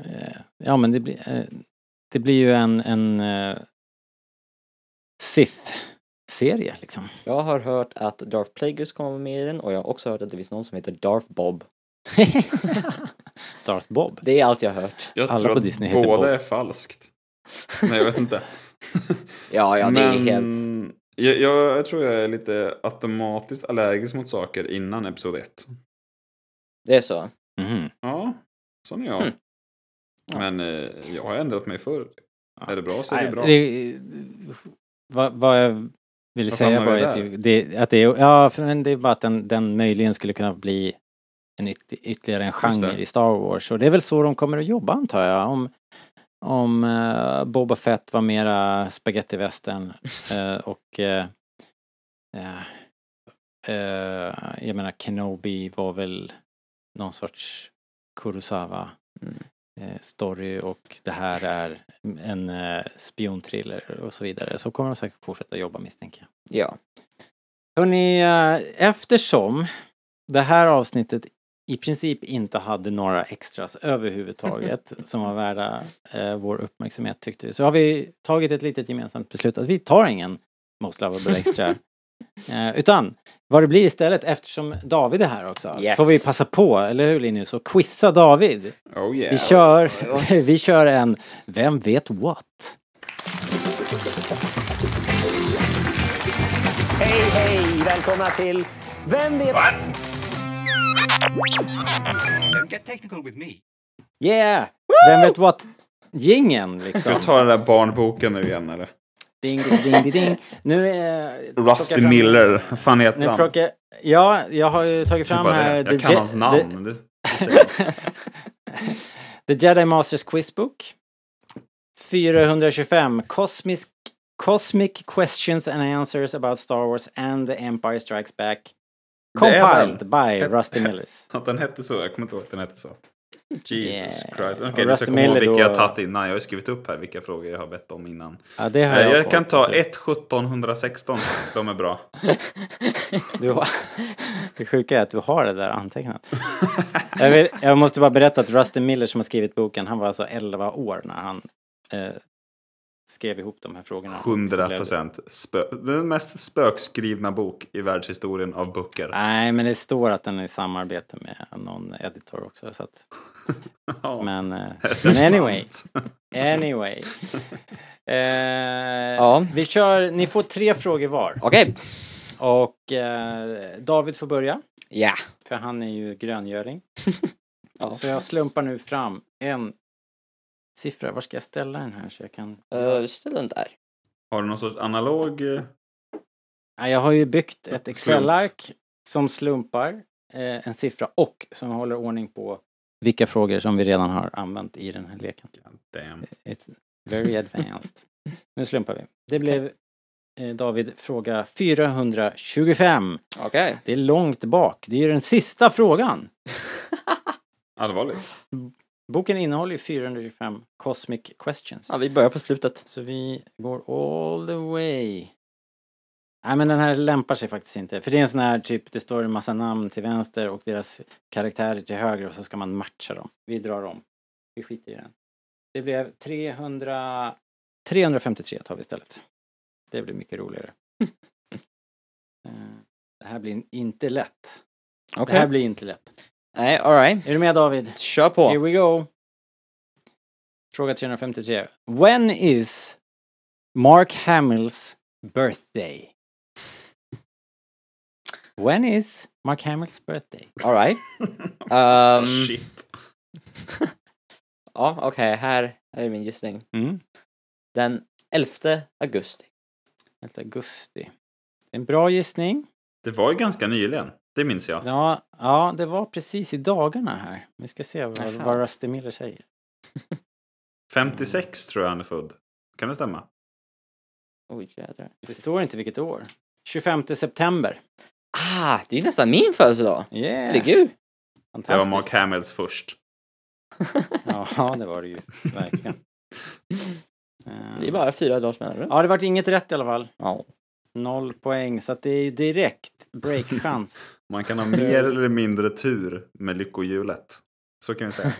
[SPEAKER 1] eh, Ja men det blir... Eh, det blir ju en, en eh, Sith-serie liksom.
[SPEAKER 4] Jag har hört att Darth Plagueis kommer med i den och jag har också hört att det finns någon som heter Darth Bob.
[SPEAKER 1] Darth Bob.
[SPEAKER 4] Det är allt jag har hört.
[SPEAKER 3] Jag
[SPEAKER 1] Alla
[SPEAKER 3] tror
[SPEAKER 1] på
[SPEAKER 3] att
[SPEAKER 1] Disney heter Bob.
[SPEAKER 3] båda är falskt. Nej, jag vet inte.
[SPEAKER 4] Ja, ja, det är helt...
[SPEAKER 3] jag, jag, jag tror jag är lite automatiskt allergisk mot saker innan episod 1.
[SPEAKER 4] Det är så.
[SPEAKER 1] Mhm.
[SPEAKER 3] Ja, sån är jag.
[SPEAKER 4] Mm. Ja.
[SPEAKER 3] Men eh, jag har ändrat mig förr. Är det bra så är
[SPEAKER 1] Nej,
[SPEAKER 3] det bra.
[SPEAKER 1] det- Vad, vad jag ville
[SPEAKER 3] Vad
[SPEAKER 1] säga
[SPEAKER 3] hamnar
[SPEAKER 1] var
[SPEAKER 3] vi
[SPEAKER 1] ju att,
[SPEAKER 3] där?
[SPEAKER 1] ju- det, att det är... Ja, för- men det är bara att den, den möjligen skulle kunna bli en yt, ytterligare en genre
[SPEAKER 3] det.
[SPEAKER 1] i Star Wars. Och det är väl så de kommer att jobba antar jag. Om, om eh, Boba Fett var mera spagettivästern eh, och... eh, eh, eh, jag menar Kenobi var väl någon sorts Kurosawa
[SPEAKER 4] Mm.
[SPEAKER 1] eh, story och det här är en eh, spionthriller och så vidare. Så kommer de säkert fortsätta jobba misstänker jag.
[SPEAKER 4] Ja.
[SPEAKER 1] Hörrni, eh, eftersom det här avsnittet i princip inte hade några extras överhuvudtaget som var värda eh, vår uppmärksamhet tyckte vi. Så har vi tagit ett litet gemensamt beslut att vi tar ingen Most Lovable Extra. eh, utan Vad det blir istället, eftersom David är här också,
[SPEAKER 4] Yes.
[SPEAKER 1] får vi passa på, eller hur Linus, och quizza David.
[SPEAKER 3] Oh yeah.
[SPEAKER 1] Vi kör, vi kör en Vem vet what?
[SPEAKER 2] Hej, hej! Välkomna till Vem vet...
[SPEAKER 1] Yeah! Vem vet what? Gingen
[SPEAKER 3] Ska
[SPEAKER 1] liksom.
[SPEAKER 3] vi ta den där barnboken nu igen eller?
[SPEAKER 1] Ding, ding, ding, ding. Nu är... plockar
[SPEAKER 3] Rusty
[SPEAKER 1] fram-
[SPEAKER 3] Miller. Vad fan heter
[SPEAKER 1] Nu
[SPEAKER 3] han?
[SPEAKER 1] plockar... Ja, jag har ju tagit fram
[SPEAKER 3] Bara det.
[SPEAKER 1] här... The
[SPEAKER 3] Jag kan
[SPEAKER 1] Je-
[SPEAKER 3] hans namn. Det-
[SPEAKER 1] The, the Jedi Masters Quizbook. 425. Cosmic, cosmic Questions and Answers about Star Wars and the Empire Strikes Back.
[SPEAKER 3] Det är
[SPEAKER 1] Compiled
[SPEAKER 3] den.
[SPEAKER 1] by
[SPEAKER 3] Ett-
[SPEAKER 1] Rusty Millers.
[SPEAKER 3] Att den hette så, jag kommer inte ihåg att den hette så. Jesus
[SPEAKER 1] Yeah.
[SPEAKER 3] Christ. Okej,
[SPEAKER 1] Och
[SPEAKER 3] du
[SPEAKER 1] Rusty
[SPEAKER 3] ska komma ihåg
[SPEAKER 1] Miller
[SPEAKER 3] vilka
[SPEAKER 1] då-
[SPEAKER 3] jag har tagit innan. Jag har ju skrivit upp här vilka frågor jag har bett om innan.
[SPEAKER 1] Ja, det har
[SPEAKER 3] Eh,
[SPEAKER 1] jag,
[SPEAKER 3] Jag,
[SPEAKER 1] på,
[SPEAKER 3] kan ta
[SPEAKER 1] absolut.
[SPEAKER 3] 1 17116. De är bra.
[SPEAKER 1] Du har, det sjuka är att du har det där antecknat. Jag, vill, jag måste bara berätta att Rusty Miller som har skrivit boken, han var alltså 11 år när han eh, skrev ihop de här frågorna.
[SPEAKER 3] 100
[SPEAKER 1] Så blev
[SPEAKER 3] procent. Den mest spökskrivna bok i världshistorien av
[SPEAKER 1] det-
[SPEAKER 3] böcker.
[SPEAKER 1] Nej, men det står att den är i samarbete med någon editor också. Så att,
[SPEAKER 3] Ja,
[SPEAKER 1] men, eh,
[SPEAKER 3] det är
[SPEAKER 1] men anyway,
[SPEAKER 3] sant.
[SPEAKER 1] anyway. Eh,
[SPEAKER 4] Ja.
[SPEAKER 1] Vi kör, ni får tre frågor var.
[SPEAKER 4] Okej.
[SPEAKER 1] Och eh, David får börja,
[SPEAKER 4] Ja.
[SPEAKER 1] för han är ju gröngöling.
[SPEAKER 4] Ja.
[SPEAKER 1] Så jag slumpar nu fram en siffra. Var ska jag ställa den här så jag kan...
[SPEAKER 4] Eh, ställ den där.
[SPEAKER 3] Har du någon sorts analog? eh,
[SPEAKER 1] Ja, Jag har ju byggt ett
[SPEAKER 3] Slump.
[SPEAKER 1] Excel-ark som slumpar eh, en siffra och som håller ordning på vilka frågor som vi redan har använt i den här leken.
[SPEAKER 3] Damn.
[SPEAKER 1] It's very advanced. nu slumpar vi. Det blev eh, David fråga 425.
[SPEAKER 4] Okej.
[SPEAKER 1] Det är långt bak. Det är ju den sista frågan. Mm.
[SPEAKER 3] Allvarligt.
[SPEAKER 1] Boken innehåller ju 425 Cosmic Questions.
[SPEAKER 4] Ja, vi börjar på slutet.
[SPEAKER 1] Så vi går all the way. Nej men den här lämpar sig faktiskt inte. För det är en sån här typ, det står en massa namn till vänster och deras karaktärer till höger och så ska man matcha dem. Vi drar om. Vi skiter i den. Det blev 300... 353 tar vi istället. Det blir mycket roligare. Eh, det här blir inte lätt.
[SPEAKER 4] Okej.
[SPEAKER 1] Det här blir inte lätt.
[SPEAKER 4] Nej, alright.
[SPEAKER 1] Är du med David?
[SPEAKER 4] Kör
[SPEAKER 1] Here
[SPEAKER 4] på.
[SPEAKER 1] we go. Fråga 353. When is Mark Hamill's birthday? When is Mark Hamill's birthday?
[SPEAKER 4] Alright. Um,
[SPEAKER 1] Oh,
[SPEAKER 3] Shit.
[SPEAKER 4] ja, okej. Här, här är min gissning.
[SPEAKER 1] Mm.
[SPEAKER 4] Den 11 augusti.
[SPEAKER 1] 11 augusti. En bra gissning.
[SPEAKER 3] Det var ju ganska nyligen. Det minns jag.
[SPEAKER 1] Ja, ja, det var precis i dagarna här. Vi ska se vad,
[SPEAKER 4] Aha.
[SPEAKER 1] vad Rusty Miller säger.
[SPEAKER 3] 56 tror jag han är född. Kan det stämma?
[SPEAKER 4] Oj, jädrar.
[SPEAKER 1] Det står inte vilket år. 25 september.
[SPEAKER 4] Ah, det är nästan min födelsedag!
[SPEAKER 1] Yeah!
[SPEAKER 4] Herregud!
[SPEAKER 3] Det var
[SPEAKER 1] Fantastiskt.
[SPEAKER 3] Mark Hamills först.
[SPEAKER 1] Ja, det var det ju. Verkligen.
[SPEAKER 4] Det är bara fyra dagars mellanrum.
[SPEAKER 1] Ja, det vart inget rätt i alla fall.
[SPEAKER 4] Ja.
[SPEAKER 1] Noll poäng, så att det är ju direkt breakchans.
[SPEAKER 3] Man kan ha mer eller mindre tur med lyckohjulet. Så kan vi säga.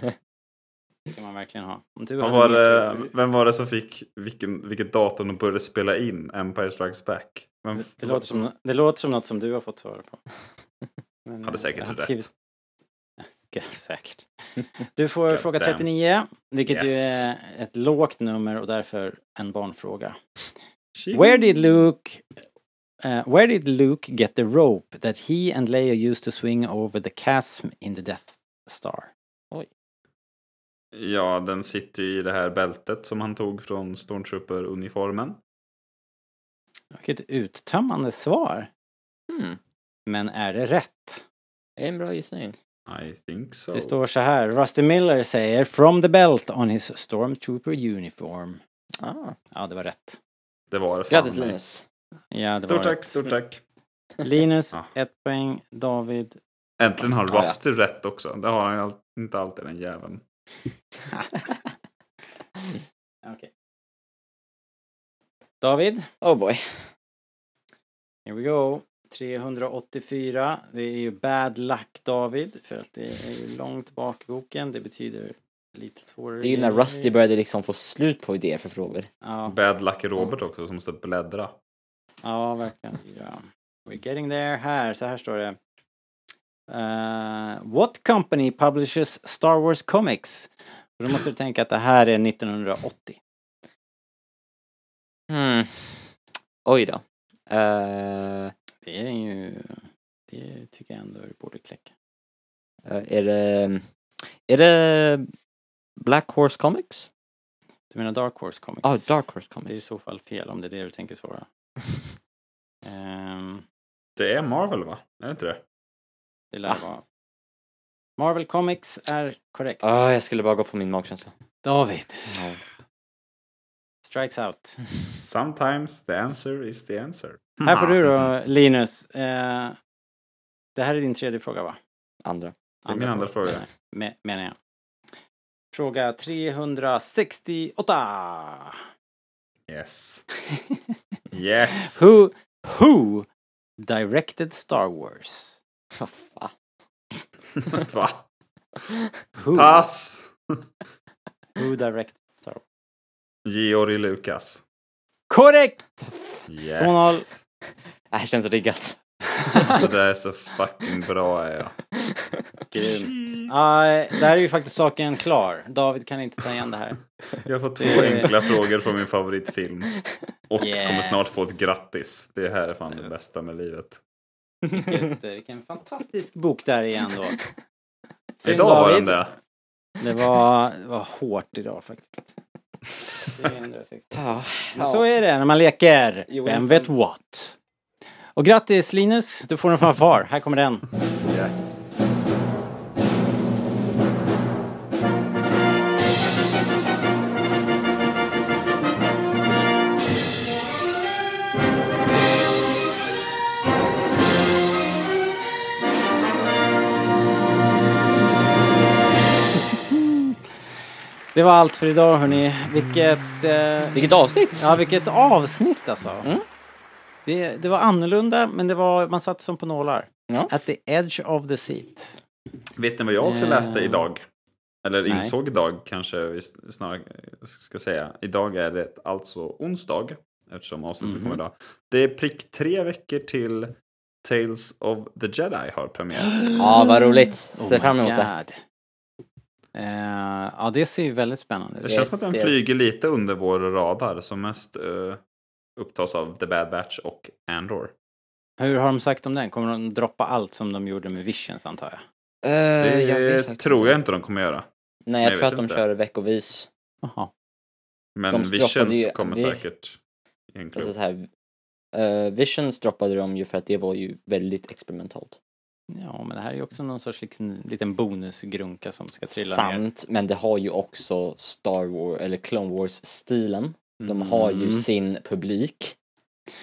[SPEAKER 1] Det kan man verkligen ha. Om du
[SPEAKER 3] Vad
[SPEAKER 1] hade
[SPEAKER 3] var
[SPEAKER 1] mer
[SPEAKER 3] det,
[SPEAKER 1] tur-
[SPEAKER 3] vem var det som fick vilken, vilket datum de började spela in Empire Strikes Back? Vem,
[SPEAKER 1] Det, det, låter som, det låter som något som du har fått svara på. Men,
[SPEAKER 3] Hade
[SPEAKER 1] eh,
[SPEAKER 3] säkert
[SPEAKER 1] jag
[SPEAKER 3] rätt.
[SPEAKER 1] skrivit- Ja, säkert. Du får
[SPEAKER 3] God
[SPEAKER 1] fråga
[SPEAKER 3] damn.
[SPEAKER 1] 39, vilket ju
[SPEAKER 3] Yes.
[SPEAKER 1] är ett lågt nummer och därför en barnfråga. Where did Luke... eh, where did Luke get the rope that he and Leia used to swing over the chasm in the Death Star?
[SPEAKER 3] Ja, den sitter ju i det här bältet som han tog från Stormtrooper-uniformen.
[SPEAKER 1] Vilket uttömmande svar.
[SPEAKER 3] Mm.
[SPEAKER 4] Hmm.
[SPEAKER 1] Men är det rätt?
[SPEAKER 4] Det är en bra gissning.
[SPEAKER 3] I think so.
[SPEAKER 1] Det står så här, Rusty Miller säger “From the belt on his stormtrooper uniform”.
[SPEAKER 4] Ah.
[SPEAKER 1] Ja, det var rätt.
[SPEAKER 3] Det var det. fan
[SPEAKER 4] Grattis
[SPEAKER 3] mig.
[SPEAKER 4] Linus!
[SPEAKER 1] Ja, det
[SPEAKER 3] Stort
[SPEAKER 1] var Mm.
[SPEAKER 3] tack,
[SPEAKER 1] rätt.
[SPEAKER 3] stort tack.
[SPEAKER 1] Linus,
[SPEAKER 3] Ja.
[SPEAKER 1] ett poäng. David,
[SPEAKER 3] Äntligen har
[SPEAKER 4] Ja, ja.
[SPEAKER 3] Rusty rätt också. Det har han ju all- inte alltid, den jäveln.
[SPEAKER 1] David,
[SPEAKER 4] Oh boy.
[SPEAKER 1] here we go. 384. Det är ju bad luck David, för att det är ju långt bak i boken. Det betyder lite svårare.
[SPEAKER 4] Det är ju när
[SPEAKER 1] grejer.
[SPEAKER 4] Rusty började liksom få slut på idéer för frågor.
[SPEAKER 1] Ja,
[SPEAKER 3] Bad luck Robert också som måste bläddra.
[SPEAKER 1] ja verkligen. Ja. We're getting there. Här, så här står det. Eh, what company publishes Star Wars comics? Och då måste du tänka att det här är 1980.
[SPEAKER 4] Hmm. Oj då. Eh,
[SPEAKER 1] Det är ju... Det tycker jag ändå du borde kläcka.
[SPEAKER 4] eh, är det... Är det Black Horse Comics?
[SPEAKER 1] Du menar Dark Horse Comics?
[SPEAKER 4] Ja, Ah, Dark Horse
[SPEAKER 1] Det är i
[SPEAKER 4] Comics.
[SPEAKER 1] så fall fel om det är det du tänker svara. Ehm,
[SPEAKER 3] Det är Marvel va? Är det inte det?
[SPEAKER 1] det lär vara... Marvel Comics är korrekt.
[SPEAKER 4] Ah, jag skulle bara gå på min magkänsla.
[SPEAKER 1] David. Strikes out.
[SPEAKER 3] Sometimes the answer is the answer.
[SPEAKER 1] Här får du då, Linus. Eh, det här är din tredje fråga, va?
[SPEAKER 4] Andra.
[SPEAKER 3] Det är min andra fråga.
[SPEAKER 1] Nej, me- menar jag. Fråga 368.
[SPEAKER 3] Yes. Yes.
[SPEAKER 1] Who, who directed Star Who?
[SPEAKER 4] Vad fan.
[SPEAKER 3] Va?
[SPEAKER 1] Who,
[SPEAKER 3] Pass!
[SPEAKER 1] who directed Star Wars?
[SPEAKER 3] Georg Lucas.
[SPEAKER 1] Korrekt!
[SPEAKER 3] Yes.
[SPEAKER 1] 2-0.
[SPEAKER 4] Det här känns riggat.
[SPEAKER 3] Så det är så fucking bra är jag.
[SPEAKER 1] Grymt. Aj, där är ju faktiskt saken klar. David kan inte ta igen det här.
[SPEAKER 3] Jag får två
[SPEAKER 1] Det-
[SPEAKER 3] enkla frågor från min favoritfilm. Och
[SPEAKER 1] Yes.
[SPEAKER 3] kommer snart få ett grattis. Det här är fan det bästa med livet.
[SPEAKER 1] Vilket, eh, Vilken fantastisk bok där igen då. Synd,
[SPEAKER 3] Idag var den
[SPEAKER 1] David.
[SPEAKER 3] det.
[SPEAKER 1] Det var, det var hårt idag faktiskt. 360.
[SPEAKER 4] Ja.
[SPEAKER 1] Men Så är det när man leker.
[SPEAKER 4] Jo,
[SPEAKER 1] Vem
[SPEAKER 4] ensam.
[SPEAKER 1] vet what? Och grattis Linus, du får en fanfar. Här kommer den.
[SPEAKER 3] Yes.
[SPEAKER 1] Det var allt för idag hörni. Vilket... Eh,
[SPEAKER 4] Vilket avsnitt!
[SPEAKER 1] Ja, vilket avsnitt alltså.
[SPEAKER 4] Mm.
[SPEAKER 1] Det, det var annorlunda, men det var, man satt som på nålar.
[SPEAKER 4] Ja.
[SPEAKER 1] At the edge of the seat.
[SPEAKER 3] Vet ni vad jag också
[SPEAKER 1] Eh.
[SPEAKER 3] läste idag? Eller
[SPEAKER 1] Nej.
[SPEAKER 3] insåg idag kanske vi s- snarare ska säga. Idag är det alltså onsdag. Eftersom avsnittet
[SPEAKER 1] Mhm.
[SPEAKER 3] kommer idag. Det är prick tre veckor till Tales of the Jedi har premiär.
[SPEAKER 4] Ja, vad roligt. Ser
[SPEAKER 1] Oh my
[SPEAKER 4] fram emot det.
[SPEAKER 1] God. Eh, ja, det ser ju väldigt spännande
[SPEAKER 3] Det
[SPEAKER 1] ut.
[SPEAKER 4] Yes,
[SPEAKER 3] känns som att den
[SPEAKER 4] yes.
[SPEAKER 3] flyger lite under vår radar. Som mest eh, upptas av The Bad Batch och Andor.
[SPEAKER 1] Hur har de sagt om den? Kommer de droppa allt som de gjorde med Visions, antar jag?
[SPEAKER 4] Eh,
[SPEAKER 3] Det
[SPEAKER 4] jag vet faktiskt
[SPEAKER 3] tror jag
[SPEAKER 4] inte.
[SPEAKER 3] inte de kommer göra.
[SPEAKER 4] Nej, jag
[SPEAKER 3] Nej,
[SPEAKER 4] tror
[SPEAKER 3] jag
[SPEAKER 4] att
[SPEAKER 3] vet
[SPEAKER 4] de
[SPEAKER 3] inte.
[SPEAKER 4] kör veckovis.
[SPEAKER 1] Jaha.
[SPEAKER 3] Men
[SPEAKER 4] De droppade
[SPEAKER 3] Visions
[SPEAKER 4] ju-
[SPEAKER 3] kommer
[SPEAKER 4] vi-
[SPEAKER 3] säkert. i en
[SPEAKER 4] Alltså
[SPEAKER 3] klubb.
[SPEAKER 4] så här, eh, Visions droppade de ju för att det var ju väldigt experimentalt.
[SPEAKER 1] Ja, men det här är ju också någon sorts liksom, liten bonusgrunka som ska trilla ner.
[SPEAKER 4] Sant, men det har ju också Star Wars, eller Clone Wars-stilen. De har ju
[SPEAKER 1] Mm.
[SPEAKER 4] sin publik.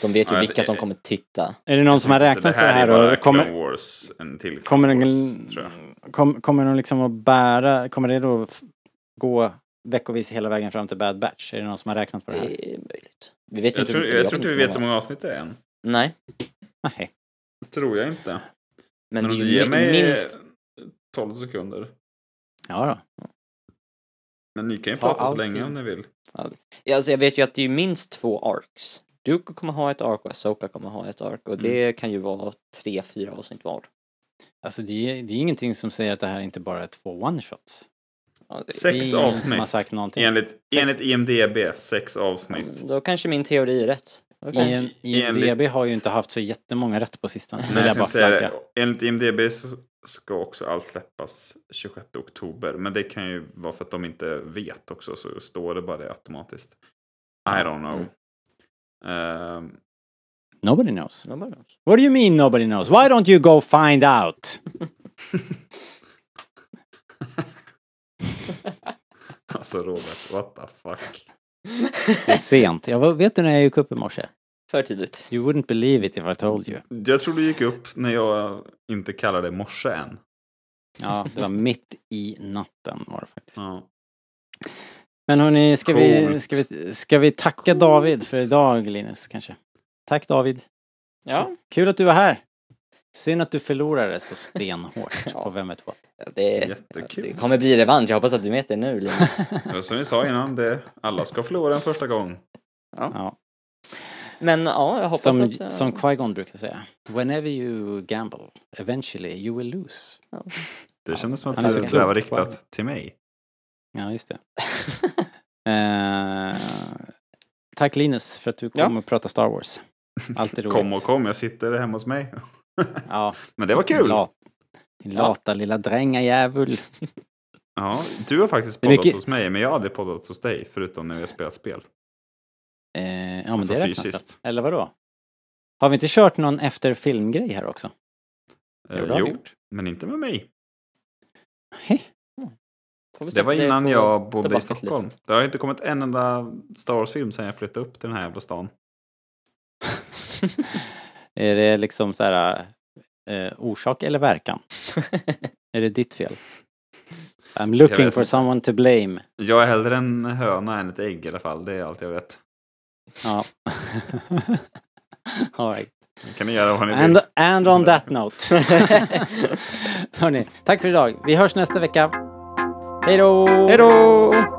[SPEAKER 4] De vet ju
[SPEAKER 3] Ja,
[SPEAKER 4] vilka
[SPEAKER 3] det-
[SPEAKER 4] som kommer titta.
[SPEAKER 1] Är det någon som har
[SPEAKER 3] Så
[SPEAKER 1] räknat på det
[SPEAKER 3] Alltså, är
[SPEAKER 1] här?
[SPEAKER 3] bara
[SPEAKER 1] Och kommer,
[SPEAKER 3] Clone Wars, en till Clone
[SPEAKER 1] Kommer, den,
[SPEAKER 3] Wars, tror jag.
[SPEAKER 1] kom, kommer de liksom att bära, kommer det då f- gå veckovis hela vägen fram till Bad Batch? Är det någon som har räknat på det
[SPEAKER 4] Det
[SPEAKER 1] här?
[SPEAKER 4] är möjligt. Vi vet ju
[SPEAKER 3] Jag
[SPEAKER 4] inte.
[SPEAKER 3] tror,
[SPEAKER 4] hur-
[SPEAKER 3] jag tror inte vi
[SPEAKER 4] kommer
[SPEAKER 3] vet
[SPEAKER 4] vara.
[SPEAKER 3] hur många avsnitt det är än.
[SPEAKER 4] Nej,
[SPEAKER 1] Nej.
[SPEAKER 3] Tror jag inte.
[SPEAKER 4] men
[SPEAKER 3] Men
[SPEAKER 4] det
[SPEAKER 3] om
[SPEAKER 4] är
[SPEAKER 3] du
[SPEAKER 4] ju
[SPEAKER 3] ger
[SPEAKER 4] mi-
[SPEAKER 3] mig
[SPEAKER 4] minst...
[SPEAKER 3] 12 sekunder.
[SPEAKER 1] Ja då.
[SPEAKER 3] Men ni kan ju
[SPEAKER 1] Ta
[SPEAKER 3] prata så
[SPEAKER 1] allt
[SPEAKER 3] länge
[SPEAKER 1] i-
[SPEAKER 3] om ni vill.
[SPEAKER 4] Ja, Alltså jag vet ju att det är ju minst två arcs. Dooku kommer ha ett ark och Asoka kommer ha ett ark och
[SPEAKER 3] Mm.
[SPEAKER 4] det kan ju vara tre, fyra avsnitt var.
[SPEAKER 1] Alltså det är, det är ingenting som säger att det här inte bara är två one-shots.
[SPEAKER 4] Ja, det-
[SPEAKER 1] Det är ingen
[SPEAKER 3] Sex
[SPEAKER 1] som har sagt
[SPEAKER 3] avsnitt.
[SPEAKER 1] någonting.
[SPEAKER 3] Enligt, enligt IMDB, sex avsnitt.
[SPEAKER 4] Då kanske min teori är rätt. Då kanske-
[SPEAKER 1] IM, IMDB har ju inte haft så jättemånga rätt på sistone. Vill
[SPEAKER 3] Nej,
[SPEAKER 1] jag
[SPEAKER 3] jag
[SPEAKER 1] bara
[SPEAKER 3] tänkte säga
[SPEAKER 1] flagga.
[SPEAKER 3] det. Enligt IMDB så ska också allt släppas 26 oktober. Men det kan ju vara för att de inte vet också. Så står det bara det automatiskt. I don't know.
[SPEAKER 1] mm.
[SPEAKER 3] Ehm,
[SPEAKER 1] Nobody knows.
[SPEAKER 4] Ja, bara-
[SPEAKER 1] What do you mean nobody knows? Why don't you go find out?
[SPEAKER 3] alltså Robert, what the fuck.
[SPEAKER 1] Det är sent. Jag var, vet du när jag gick upp i morse?
[SPEAKER 4] För tidigt.
[SPEAKER 1] You wouldn't believe it if I told you.
[SPEAKER 3] Jag tror du gick upp när jag inte kallade det morse än.
[SPEAKER 1] Ja, det var mitt i natten var det faktiskt.
[SPEAKER 3] Ja.
[SPEAKER 1] Men hörni, ska vi,
[SPEAKER 3] Coolt.
[SPEAKER 1] ska vi, ska vi tacka David för idag, Linus, kanske? Tack David!
[SPEAKER 4] Ja.
[SPEAKER 1] Kul att du var här! Synd att du förlorade så stenhårt
[SPEAKER 4] Ja.
[SPEAKER 1] på Vem vet vad.
[SPEAKER 4] Det,
[SPEAKER 3] Jättekul.
[SPEAKER 4] det kommer bli revansch. Jag hoppas att du vet det nu Linus.
[SPEAKER 3] Och Som vi sa innan, det, alla ska förlora en första gång.
[SPEAKER 1] Ja.
[SPEAKER 4] Men ja, jag hoppas
[SPEAKER 1] Som,
[SPEAKER 4] att... eh,
[SPEAKER 1] som Qui-Gon brukar säga. Whenever you gamble, eventually you will lose.
[SPEAKER 3] Det kändes som att
[SPEAKER 1] Han är
[SPEAKER 3] det
[SPEAKER 1] så
[SPEAKER 3] det
[SPEAKER 1] klok.
[SPEAKER 3] där var riktat till mig.
[SPEAKER 1] Ja, just det. Eh, tack Linus för att du kom
[SPEAKER 4] Ja.
[SPEAKER 1] och pratade Star Wars. Alltid roligt.
[SPEAKER 3] Kom och kom, jag sitter hemma hos mig.
[SPEAKER 1] Ja,
[SPEAKER 3] Men det var
[SPEAKER 1] din
[SPEAKER 3] kul!
[SPEAKER 1] lat- Din lata lilla Eh, drängajävel.
[SPEAKER 3] Ja, du har faktiskt
[SPEAKER 1] Det är
[SPEAKER 3] poddat
[SPEAKER 1] mycket-
[SPEAKER 3] hos mig, men jag har aldrig poddat hos dig förutom när vi har spelat spel.
[SPEAKER 1] Eh, ja, men
[SPEAKER 3] Alltså
[SPEAKER 1] det räknas
[SPEAKER 3] fysiskt.
[SPEAKER 1] väl? Eller vadå? Har vi inte kört någon efter filmgrej här också?
[SPEAKER 3] Eh,
[SPEAKER 1] Jo, det har vi
[SPEAKER 3] jo,
[SPEAKER 1] gjort.
[SPEAKER 3] men inte med mig.
[SPEAKER 1] Hej.
[SPEAKER 4] får vi
[SPEAKER 3] Det
[SPEAKER 4] sätta
[SPEAKER 3] var innan
[SPEAKER 4] på
[SPEAKER 3] jag
[SPEAKER 4] the
[SPEAKER 3] bodde i
[SPEAKER 4] bucket
[SPEAKER 3] Stockholm.
[SPEAKER 4] list.
[SPEAKER 3] Det har inte kommit en enda Star Wars-film sedan jag flyttade upp till den här jävla stan.
[SPEAKER 1] Är det liksom så här eh, orsak eller verkan? är det ditt fel? I'm
[SPEAKER 3] Jag
[SPEAKER 1] looking
[SPEAKER 3] vet
[SPEAKER 1] for
[SPEAKER 3] inte.
[SPEAKER 1] someone to blame.
[SPEAKER 3] Jag är hellre en höna än ett ägg i alla fall, det är allt jag vet.
[SPEAKER 1] Ja. All right.
[SPEAKER 3] Nu kan ni göra vad ni vill.
[SPEAKER 1] and, and on that note. Hörni, tack för idag. Vi hörs nästa vecka. Hej då!
[SPEAKER 4] Hej då!